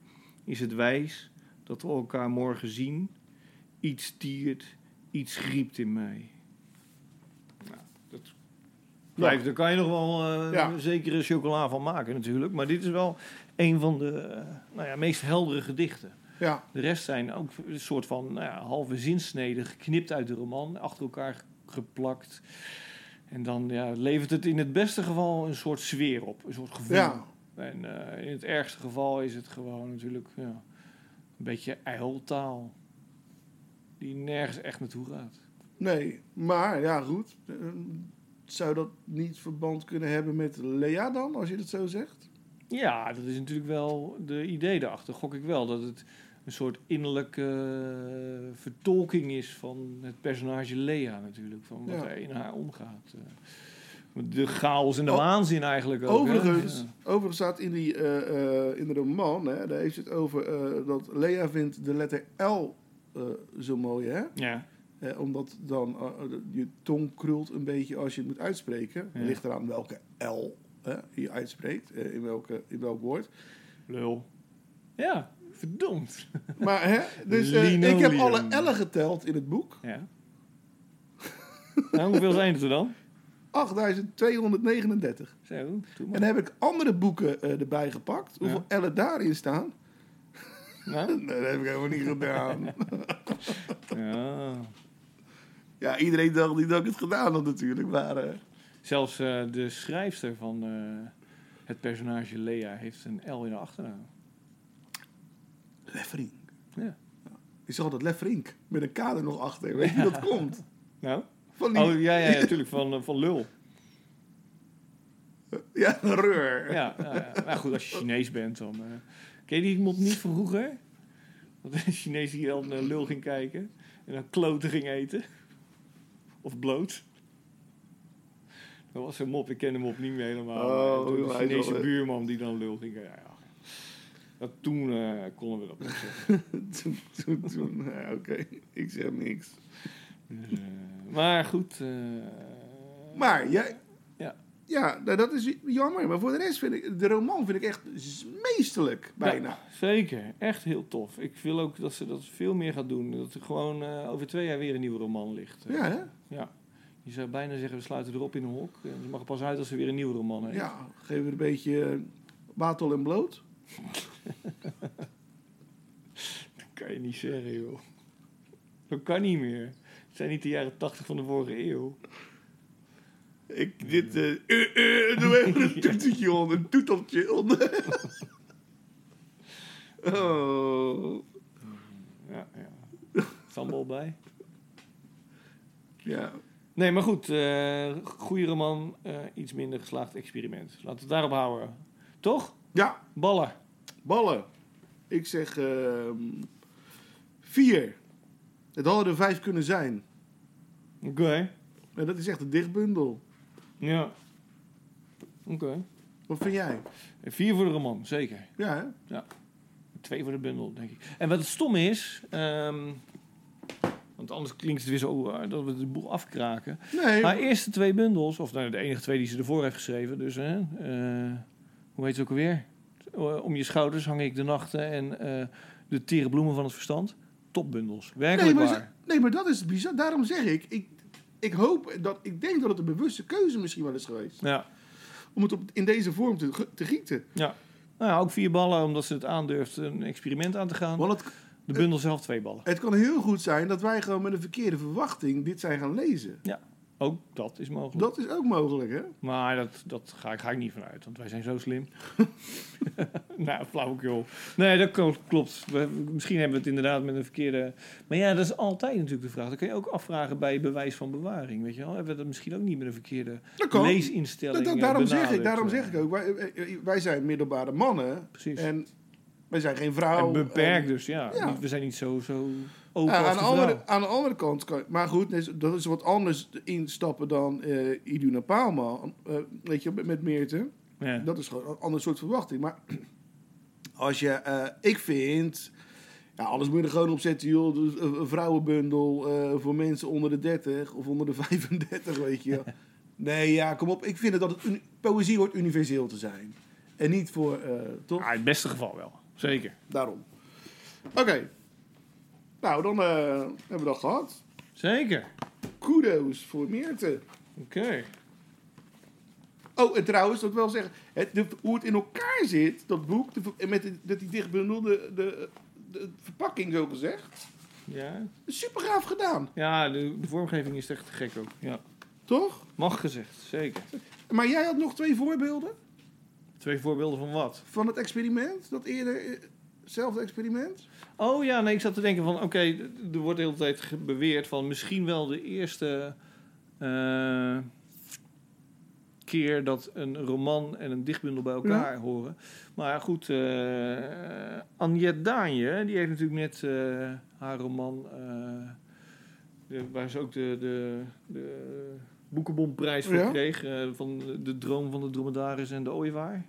S5: Is het wijs dat we elkaar morgen zien? Iets tiert, iets griept in mij. Nou, dat blijft, daar kan je nog wel eh,
S6: Ja.
S5: een zekere chocola van maken natuurlijk. Maar dit is wel een van de eh, nou ja, meest heldere gedichten.
S6: Ja.
S5: De rest zijn ook een soort van nou ja, halve zinsneden geknipt uit de roman, achter elkaar ge- geplakt. En dan ja, levert het in het beste geval een soort sfeer op, een soort gevoel.
S6: Ja.
S5: En eh, in het ergste geval is het gewoon natuurlijk ja, een beetje ijltaal. Die nergens echt naartoe gaat.
S6: Nee. Maar, ja, goed. Eh, zou dat niet verband kunnen hebben met Lea dan, als je dat zo zegt?
S5: Ja, dat is natuurlijk wel de idee daarachter. Gok ik wel dat het een soort innerlijke eh, vertolking is van het personage Lea natuurlijk. Van wat
S6: Ja.
S5: er in haar omgaat. Eh, De chaos en de
S6: O-
S5: waanzin eigenlijk ook. hè?
S6: Overigens,
S5: Ja.
S6: overigens staat in, die, eh, eh, in de roman, hè, daar heeft het over eh, dat Lea vindt de letter L eh, zo mooi, hè?
S5: Ja.
S6: Eh, omdat dan eh, eh, je tong krult een beetje als je het moet uitspreken.
S5: Ja.
S6: Ligt eraan welke L hè, je uitspreekt, eh, in, welke, in welk woord.
S5: lul. Ja, verdomd.
S6: Maar hè, dus eh, ik heb
S5: Linoleum.
S6: alle ellen geteld in het boek.
S5: Ja. nou, hoeveel zijn het er dan?
S6: 8239.
S5: Zo, doe
S6: En
S5: maar.
S6: dan heb ik andere boeken eh, erbij gepakt. Hoeveel ellen daarin staan?
S5: Nou,
S6: Nee, dat heb ik helemaal niet gedaan.
S5: ja.
S6: ja, iedereen dacht niet dat ik het gedaan had natuurlijk. Maar eh,
S5: Zelfs eh, de schrijfster van eh, het personage Lea heeft een L in haar achternaam.
S6: Lefferink.
S5: Ja.
S6: Je zag dat Lefferink. Met een kader nog achter. Weet je hoe dat komt?
S5: Nou?
S6: Van die,
S5: Oh, ja, ja, natuurlijk, van, eh, van lul.
S6: ja, een reur.
S5: Ja, nou ja. Maar goed, als je Chinees bent, dan... eh, ken je die mop niet van vroeger? Dat een Chinees die dan eh, lul ging kijken en dan kloten ging eten. Of bloot. Dat was een mop, ik ken hem op niet meer helemaal. maar
S6: Oh,
S5: toen
S6: hij
S5: de
S6: is wel,
S5: Chinese
S6: eh,
S5: buurman die dan lul ging kijken. Ja, ja. Dat, toen eh, konden we dat nog zeggen.
S6: toen, toen, toen. Ja, oké. Ik zeg niks.
S5: Dus, eh, maar goed. eh,
S6: Maar jij...
S5: Ja.
S6: Ja, nou, dat is jammer. Maar voor de rest vind ik... De roman vind ik echt z- meesterlijk. Bijna.
S5: ja, zeker, echt heel tof. Ik wil ook dat ze dat veel meer gaat doen. Dat er gewoon eh, over twee jaar weer een nieuwe roman ligt.
S6: Ja, hè?
S5: Ja. Je zou bijna zeggen, we sluiten erop in een hok. En Ze mag pas uit als ze weer een nieuwe roman heeft.
S6: Ja, geef er een beetje eh, watel en bloot.
S5: Dat kan je niet zeggen, joh. Dat kan niet meer. Het zijn niet de jaren tachtig van de vorige eeuw.
S6: Ik, dit, eh, eh, eh, doe even een toeteltje onder, een toeteltje onder. oh,
S5: Ja, ja. Sambal bij.
S6: ja.
S5: Nee, maar goed. eh goede roman, eh, iets minder geslaagd experiment. Laten we het daarop houden. Toch?
S6: Ja,
S5: Ballen.
S6: ballen. Ik zeg ehm, vier. Het hadden er vijf kunnen zijn.
S5: Oké.
S6: En dat is echt een dichtbundel.
S5: Ja. Oké.
S6: Wat vind jij?
S5: En Vier voor de roman, zeker.
S6: Ja, hè?
S5: Twee voor de bundel, denk ik. En wat het stom is... ehm, want anders klinkt het weer zo eh, dat we de boel afkraken.
S6: Nee,
S5: Haar eerste twee bundels, of nou, de enige twee die ze ervoor heeft geschreven... Dus, hè, eh, hoe heet het ook alweer? Eh, Om je schouders hang ik de nachten en eh, de tere bloemen van het verstand. Topbundels,
S6: nee,
S5: werkelijk
S6: maar,
S5: waar.
S6: ze- nee, maar dat is bizar. Daarom zeg ik, ik, ik hoop dat, ik denk dat het een bewuste keuze misschien wel is geweest.
S5: Ja,
S6: Om het op, in deze vorm te, ge- te gieten.
S5: ja. Nou ja, ook vier ballen, omdat ze het aandurft een experiment aan te gaan.
S6: Want het,
S5: De bundel zelf twee ballen.
S6: het kan heel goed zijn dat wij gewoon met een verkeerde verwachting dit zijn gaan lezen.
S5: Ook dat is mogelijk.
S6: Dat is ook mogelijk, hè?
S5: Maar dat, dat ga, ik- ga ik niet vanuit, want wij zijn zo slim. nou, flauwekul. Nee, dat kl- klopt. We- misschien hebben we het inderdaad met een verkeerde... Maar ja, dat is altijd natuurlijk de vraag. Dat kun je ook afvragen bij bewijs van bewaring, weet je wel. Hebben we dat misschien ook niet met een verkeerde
S6: Dat kan.
S5: leesinstelling
S6: Dat- dat-
S5: eh,
S6: daarom, zeg ik,
S5: benaderd?
S6: daarom zeg ik ook, wij, eh, wij zijn middelbare mannen.
S5: Precies. En,
S6: En wij zijn geen vrouw.
S5: beperkt dus, ja.
S6: ja.
S5: Niet- We zijn niet zo, zo
S6: En-
S5: open
S6: Ja,
S5: als
S6: aan,
S5: de
S6: de
S5: vrouw.
S6: andere, aan de andere kant kan Maar goed, dus dat is wat anders instappen dan eh Iduna Paalman. eh, weet je, met, met Meerte.
S5: Ja.
S6: Dat is gewoon een ander soort verwachting. Maar als je, eh, ik vind, ja, alles moet je er gewoon op zetten, joh. Dus een, een vrouwenbundel eh, voor mensen onder de 30 of onder de 35, weet je. wel. Nee, ja, kom op. Ik vind het dat het uni- poëzie hoort universeel te zijn. En niet voor, eh, toch?
S5: Ah, in het beste geval wel, zeker.
S6: Daarom. Oké. Nou, dan eh, hebben we dat gehad.
S5: Zeker,
S6: Kudos voor Meerte.
S5: oké.
S6: Oh, en trouwens, dat wil zeggen, het, de- hoe het in elkaar zit, dat boek, de, ver- en met de- dat die dichtbundel, de, de, de verpakking zo gezegd,
S5: Ja,
S6: super gaaf gedaan,
S5: ja de, de vormgeving is echt te gek ook. Ja.
S6: toch?
S5: Mag gezegd, zeker.
S6: Maar jij had nog twee voorbeelden
S5: Twee voorbeelden van wat?
S6: van het experiment, dat eerder, eh, hetzelfde experiment?
S5: Oh ja, nee, ik zat te denken van... Oké, er wordt de hele tijd ge- beweerd van... Misschien wel de eerste eh, keer dat een roman en een dichtbundel bij elkaar horen. Maar goed, eh Anjet Daanje, die heeft natuurlijk net eh, haar roman... eh, de- waar ze ook de, de, de boekenbonprijs voor
S6: Ja.
S5: kreeg... eh, van De Droom van de Dromedaris en de Ooievaar.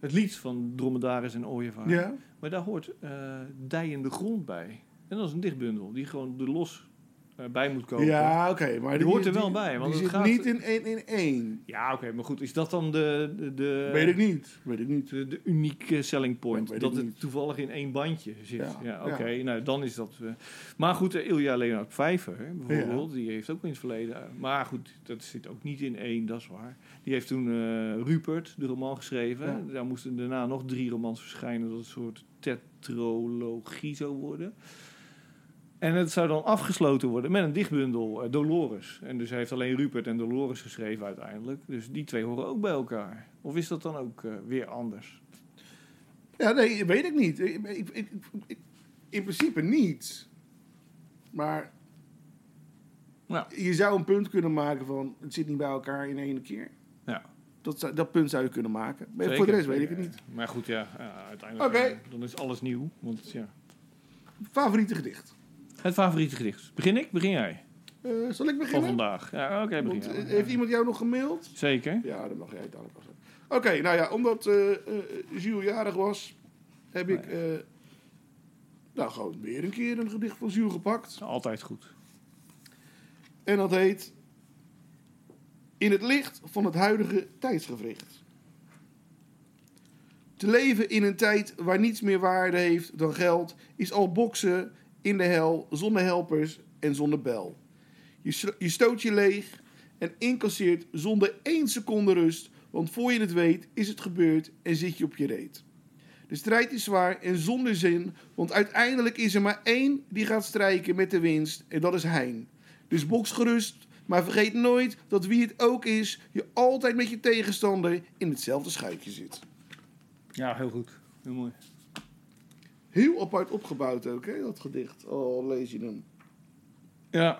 S5: Het lied van Dromedaris en Ooievaar.
S6: Ja.
S5: Maar daar hoort eh dijende grond bij. En dat is een dichtbundel die gewoon de los eh, eh, bij moet komen.
S6: Ja, oké. maar
S5: Die hoort er wel bij, want
S6: die
S5: het
S6: zit
S5: gaat-
S6: niet in één in één.
S5: Ja, oké, maar goed, is dat dan de, de, de,
S6: weet ik niet. Weet ik niet.
S5: de, de unieke selling point?
S6: Ja, weet
S5: dat
S6: ik
S5: het
S6: niet.
S5: toevallig in één bandje zit. Ja,
S6: Ja,
S5: oké,
S6: ja.
S5: nou dan is dat. eh, maar goed, eh, Ilja Leonard Vijver bijvoorbeeld, die heeft ook in het verleden. eh, maar goed, dat zit ook niet in één, dat is waar. Die heeft toen eh, Rupert, de roman, geschreven.
S6: Ja.
S5: Daar moesten daarna nog drie romans verschijnen, dat het een soort tetrologie zou worden. En het zou dan afgesloten worden met een dichtbundel, eh, Dolores. En dus hij heeft alleen Rupert en Dolores geschreven uiteindelijk. Dus die twee horen ook bij elkaar. Of is dat dan ook eh, weer anders?
S6: Ja, nee, weet ik niet. Ik, ik, ik- ik- in principe niet. Maar
S5: Ja.
S6: je zou een punt kunnen maken van... het zit niet bij elkaar in één keer.
S5: Ja.
S6: Dat, zou- dat punt zou je kunnen maken. Maar voor de
S5: Zeker. Eh,
S6: rest weet ik het niet.
S5: Maar goed, ja, ja, uiteindelijk
S6: Oké.
S5: eh, dan is alles nieuw. Want, ja.
S6: Favoriete gedicht.
S5: Het favoriete gedicht. Begin ik? Begin jij?
S6: Eh, zal ik
S5: Van
S6: beginnen?
S5: vandaag. Ja, oké, begin
S6: Want,
S5: jij.
S6: eh, heeft iemand jou nog gemaild?
S5: Zeker.
S6: Ja, dan mag jij het eigenlijk wel zeggen. Oké, nou ja, omdat eh eh, Jules jarig was, heb ik eh, nou gewoon weer een keer een gedicht van Jules gepakt.
S5: Altijd goed.
S6: En dat heet In het licht van het huidige tijdsgevricht. Te leven in een tijd waar niets meer waarde heeft dan geld, is al boksen in de hel zonder helpers en zonder bel. Je, sl- je stoot je leeg en incasseert zonder één seconde rust, want voor je het weet is het gebeurd en zit je op je reet. De strijd is zwaar en zonder zin, want uiteindelijk is er maar één die gaat strijken met de winst en dat is Hein. Dus boks gerust, maar vergeet nooit dat wie het ook is, je altijd met je tegenstander in hetzelfde schuitje zit.
S5: Ja, heel goed. Heel mooi.
S6: Heel apart opgebouwd ook, hè, dat gedicht. Oh, lees je hem.
S5: Ja,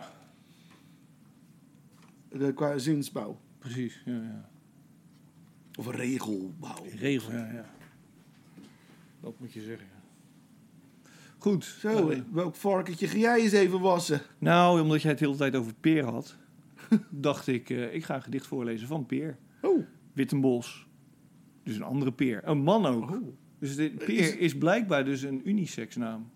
S6: De, qua zinsbouw.
S5: precies. Ja, ja.
S6: Of regelbouw.
S5: Regel, ja, ja. Dat moet je zeggen. ja. Goed.
S6: Zo,
S5: Eh,
S6: welk varkentje ga jij eens even wassen?
S5: nou, omdat jij het de hele tijd over Peer had, dacht ik, eh, ik ga een gedicht voorlezen van Peer.
S6: Oh,
S5: Wittenbos. Dus een andere peer. Een man ook. Dus de peer is,
S6: Is-
S5: blijkbaar dus een unisexnaam.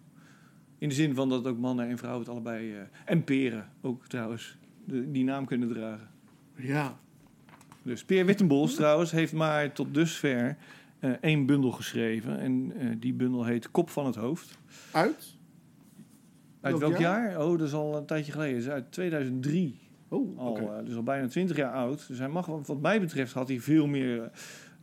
S5: In de zin van dat ook mannen en vrouwen het allebei... eh, en peren ook trouwens. de- die naam kunnen dragen.
S6: ja.
S5: Dus Peer Wittenbos trouwens heeft maar tot dusver eh, één bundel geschreven. En eh, die bundel heet Kop van het Hoofd.
S6: Uit?
S5: Uit
S6: Welk
S5: welk jaar? Oh, dat is al een tijdje geleden. Dat is uit 2003
S6: Oh,
S5: al,
S6: oké.
S5: eh, dus al bijna 20 jaar oud. Dus hij mag, wat wat mij betreft, had hij veel meer. eh,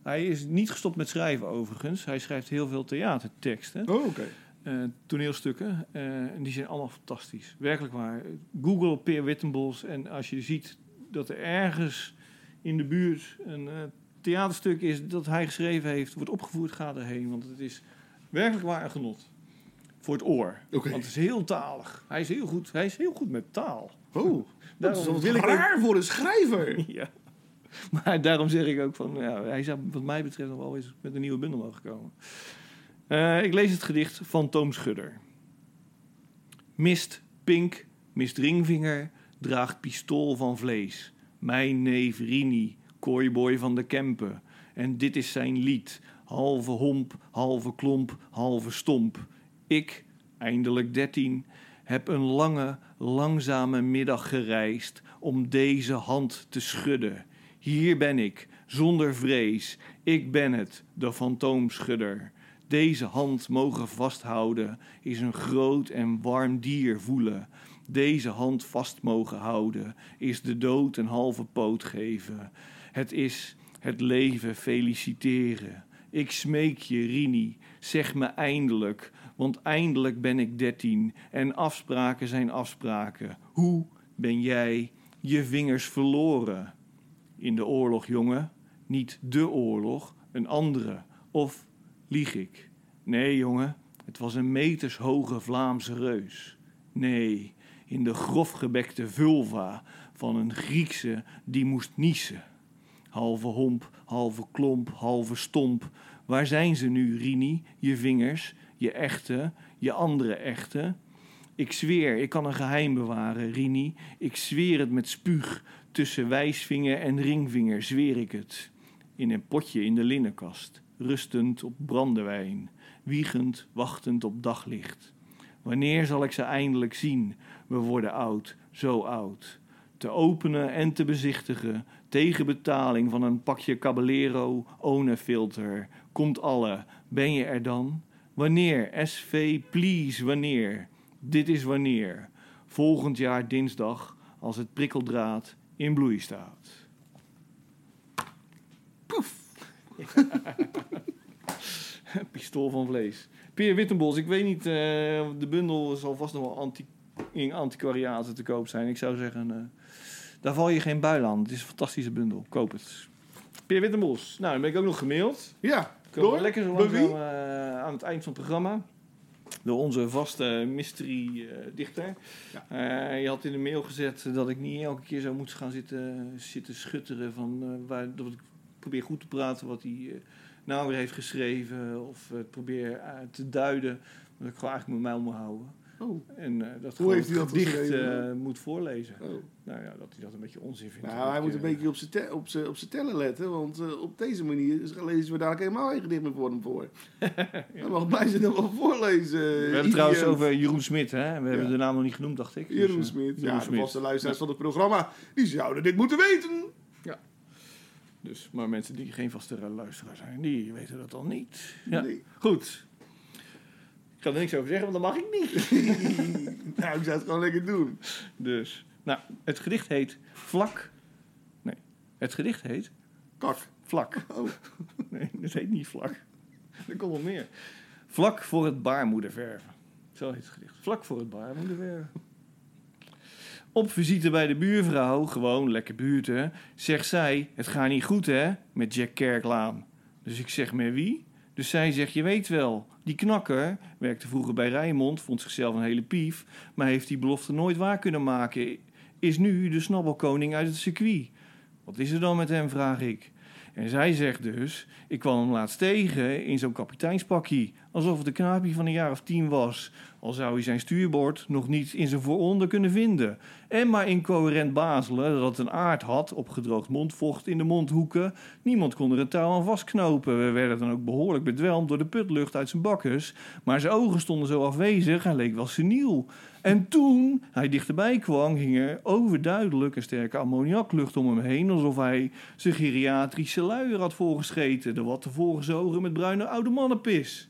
S5: hij is niet gestopt met schrijven, overigens. Hij schrijft heel veel theaterteksten,
S6: Oh, oké.
S5: eh, toneelstukken. eh, en die zijn allemaal fantastisch. Werkelijk waar. Google Peer Wittenbos. En als je ziet dat er ergens in de buurt een eh, theaterstuk is dat hij geschreven heeft, wordt opgevoerd, ga erheen. Want het is werkelijk waar een genot. Voor het oor.
S6: Oké.
S5: Want het is heel talig. Hij is heel goed, hij is heel goed met taal.
S6: Oh, dat is
S5: Daarom
S6: wel
S5: wil ik ook-
S6: raar voor een schrijver.
S5: Ja. Maar daarom zeg ik ook van, ja, hij zou wat mij betreft nog wel eens met een nieuwe bundel mogen komen. Eh, ik lees het gedicht van Toom Schudder. Mist, pink, mist ringvinger, draagt pistool van vlees. Mijn neef Rini, kooiboy van de Kempen. En dit is zijn lied, halve homp, halve klomp, halve stomp. Ik, eindelijk dertien, heb een lange, langzame middag gereisd om deze hand te schudden. Hier ben ik, zonder vrees. Ik ben het, de fantoomschudder. Deze hand mogen vasthouden is een groot en warm dier voelen. Deze hand vast mogen houden is de dood een halve poot geven. Het is het leven feliciteren. Ik smeek je, Rini, zeg me eindelijk, want eindelijk ben ik dertien en afspraken zijn afspraken. Hoe ben jij je vingers verloren? In de oorlog, jongen, niet de oorlog, een andere. Of lieg ik? Nee, jongen, het was een metershoge Vlaamse reus. Nee, in de grofgebekte vulva van een Griekse die moest niezen. Halve homp, halve klomp, halve stomp. Waar zijn ze nu, Rini? Je vingers, je echte, je andere echte. Ik zweer, ik kan een geheim bewaren, Rini. Ik zweer het met spuug. Tussen wijsvinger en ringvinger zweer ik het. In een potje in de linnenkast, rustend op brandewijn, wiegend, wachtend op daglicht. Wanneer zal ik ze eindelijk zien? We worden oud, zo oud. Te openen en te bezichtigen, tegen betaling van een pakje Caballero ohne filter. Komt alle, ben je er dan? Wanneer? SV, please, wanneer? Dit is wanneer. Volgend jaar dinsdag, als het prikkeldraad in bloei staat. Poef! Pistool van vlees. Peer Wittenbos, ik weet niet, eh, de bundel zal vast nog wel anti in antiquariaten te koop zijn. Ik zou zeggen, eh, daar val je geen buil aan. Het is een fantastische bundel. Koop het. Peer Wittenbos, nou, dan ben ik ook nog gemaild.
S6: Ja,
S5: Kunnen
S6: door.
S5: we lekker zo
S6: Door wie?
S5: langzaam eh, aan het eind van het programma. Door onze vaste mystery-dichter. Eh, je had in de mail gezet dat ik niet elke keer zou moeten gaan zitten, zitten schutteren. Van, eh, waar, dat ik probeer goed te praten wat hij eh, nou weer heeft geschreven. Of eh, probeer eh, te duiden. Dat ik gewoon eigenlijk mijn mijl moet houden.
S6: Oh.
S5: En eh, dat gewoon
S6: heeft hij
S5: het
S6: dat
S5: gedicht
S6: geschreven?
S5: eh, moet voorlezen.
S6: Oh.
S5: Nou ja, dat hij dat een beetje onzin vindt.
S6: Nou, hij
S5: Ik,
S6: moet
S5: eh,
S6: een beetje op zijn te- op zijn- op zijn tellen letten, want eh, op deze manier is- lezen we dadelijk helemaal geen gedicht meer voor hem voor. Hij mag blij zijn dat we hem voorlezen. eh,
S5: We hebben het trouwens over Jeroen Smit, hè? We hebben
S6: Ja.
S5: de naam nog niet genoemd, dacht ik. Dus,
S6: Jeroen
S5: eh,
S6: Smit,
S5: Jeroen
S6: ja, de
S5: Smit.
S6: vaste luisteraars van het programma, die zouden dit moeten weten.
S5: Dus, maar mensen die geen vaste luisteraar zijn, die weten dat dan niet. Ja.
S6: Nee.
S5: Goed. Ik ga er niks over zeggen, want dat mag ik niet.
S6: Nou, ik zou het gewoon lekker doen.
S5: Dus, nou, het gedicht heet Vlak. Nee, het gedicht heet
S6: Kak.
S5: Vlak.
S6: Oh.
S5: Nee, het heet niet Vlak. Er komt nog meer. Vlak voor het baarmoederverven. Zo heet het gedicht. Vlak voor het baarmoederverven. Op visite bij de buurvrouw, gewoon lekker buurten, zegt zij: Het gaat niet goed hè, met Jack Kerklaan. Dus ik zeg: Met wie? Dus zij zegt: Je weet wel, die knakker werkte vroeger bij Rijmond, vond zichzelf een hele pief, maar heeft die belofte nooit waar kunnen maken. Is nu de snabbelkoning uit het circuit. Wat is er dan met hem, vraag ik. En zij zegt dus: Ik kwam hem laatst tegen in zo'n kapiteinspakkie. Alsof het een knaapje van een jaar of tien was. Al zou hij zijn stuurbord nog niet in zijn vooronder kunnen vinden. En maar incoherent bazelen dat het een aard had, opgedroogd mondvocht in de mondhoeken. Niemand kon er een touw aan vastknopen. We werden dan ook behoorlijk bedwelmd door de putlucht uit zijn bakkers. Maar zijn ogen stonden zo afwezig, hij leek wel seniel. En toen hij dichterbij kwam, hing er overduidelijk een sterke ammoniaklucht om hem heen, alsof hij zijn geriatrische luier had voorgescheten, de wat tevoren zogen met bruine oude mannenpis.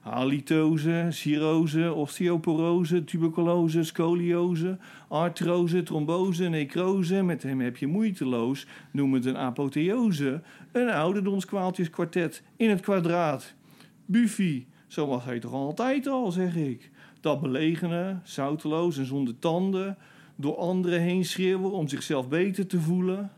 S5: Halitose, cirrose, osteoporose, tuberculose, scoliose, artrose, trombose, necrose. Met hem heb je moeiteloos, noem het een apotheose. Een ouderdomskwaaltjeskwartet in het kwadraat. Buffy, zo was hij toch altijd al, zeg ik. Dat belegene, zouteloos en zonder tanden, door anderen heen schreeuwen om zichzelf beter te voelen.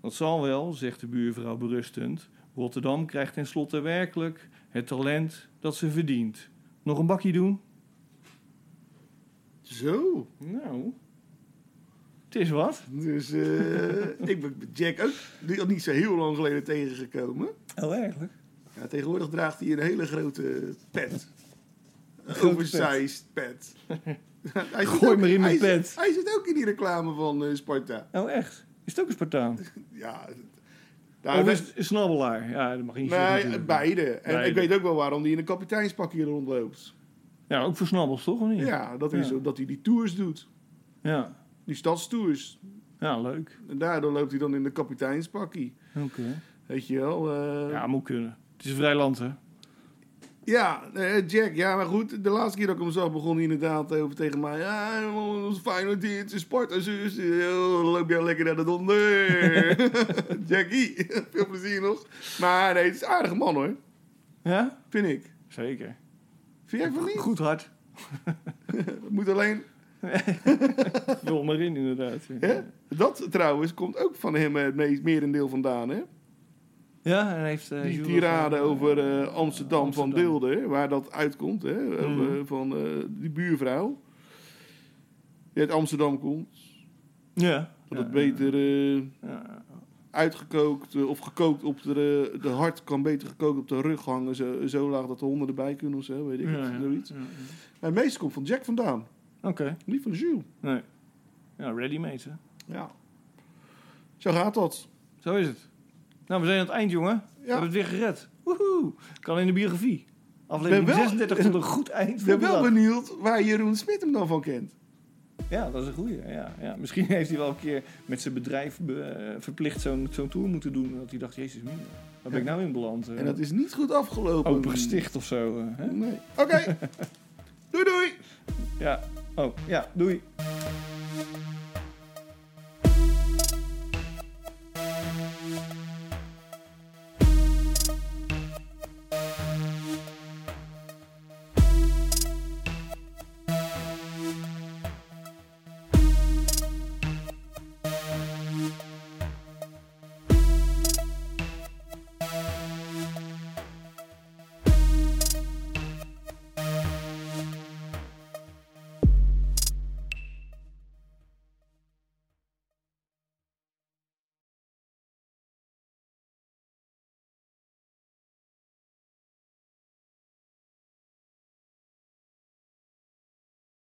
S5: Dat zal wel, zegt de buurvrouw berustend. Rotterdam krijgt tenslotte werkelijk het talent dat ze verdient. Nog een bakje doen?
S6: Zo.
S5: Nou, het is wat.
S6: Dus eh, ik ben Jack ook die- niet zo heel lang geleden tegengekomen.
S5: Oh, eigenlijk?
S6: Ja, tegenwoordig draagt hij een hele grote pet. Een
S5: grote
S6: oversized pet. Hij zit
S5: Gooi
S6: ook-
S5: maar in mijn
S6: hij zit-
S5: pet.
S6: Hij zit ook in die reclame van eh, Sparta.
S5: Oh, echt? Is het ook een Spartaan?
S6: Ja,
S5: of
S6: nou,
S5: is het een snabbelaar? Ja, dat mag je niet zeggen.
S6: nee,
S5: natuurlijk.
S6: beide. En
S5: Beide.
S6: ik weet ook wel waarom hij in een kapiteinspakje rondloopt.
S5: Ja, ook voor snabbels, toch? Of niet?
S6: Ja, dat is
S5: Ja.
S6: omdat hij die tours doet.
S5: Ja,
S6: Die stadstours.
S5: ja leuk.
S6: En daardoor loopt hij dan in de kapiteinspakkie.
S5: Oké.
S6: Weet je wel. eh,
S5: Ja, moet kunnen. Het is een vrij land, hè?
S6: Ja, eh, Jack, ja, maar goed. De laatste keer dat ik hem zag, begon hij inderdaad over tegen mij. Ja, ons Feyenoord dit, is Sparta, zus. Oh, dan loop jij lekker naar de donder. Jackie, veel plezier nog. Maar nee, het is een aardige man hoor,
S5: Ja?
S6: vind ik.
S5: Zeker.
S6: Vind jij van niet?
S5: Goed hard.
S6: Moet alleen...
S5: Vul maar in, inderdaad. Ja,
S6: Hè? Dat trouwens komt ook van hem eh, het meest merendeel vandaan, hè?
S5: ja en heeft... eh,
S6: Die
S5: Jules-
S6: tirade
S5: eh,
S6: over eh, Amsterdam, van
S5: Amsterdam.
S6: Deelde, waar dat uitkomt, hè?
S5: Mhm.
S6: eh, van eh, die buurvrouw. Die uit Amsterdam komt.
S5: Ja.
S6: Dat
S5: ja.
S6: het beter eh,
S5: Ja.
S6: uitgekookt eh, of gekookt op de, eh, de hart kan beter gekookt op de rug hangen. Zo, zo laag dat de honden erbij kunnen of zo, weet ik
S5: Ja,
S6: het,
S5: ja.
S6: zoiets.
S5: Ja, ja.
S6: Maar het meeste komt van Jack vandaan,
S5: Oké.
S6: niet van Jules.
S5: Nee. Ja, ready-made, hè?
S6: Ja. Zo gaat dat.
S5: Zo is het. Nou, we zijn aan het eind, jongen. We hebben het weer gered. Woehoe. Kan in de biografie. Aflevering
S6: ben wel-
S5: 36 tot een goed eind.
S6: Ik
S5: van
S6: ben
S5: de
S6: wel
S5: dag.
S6: benieuwd waar Jeroen Smit hem dan van kent.
S5: Ja, dat is een goeie. Ja, ja. Misschien heeft hij wel een keer met zijn bedrijf be- eh, verplicht zo'n zo'n tour moeten doen. Dat hij dacht, jezus mina, waar ben ik nou in beland? Eh,
S6: En dat is niet goed afgelopen.
S5: Open gesticht of zo. eh, hè?
S6: Nee. Oké. doei doei.
S5: Ja. Oh, ja. Doei.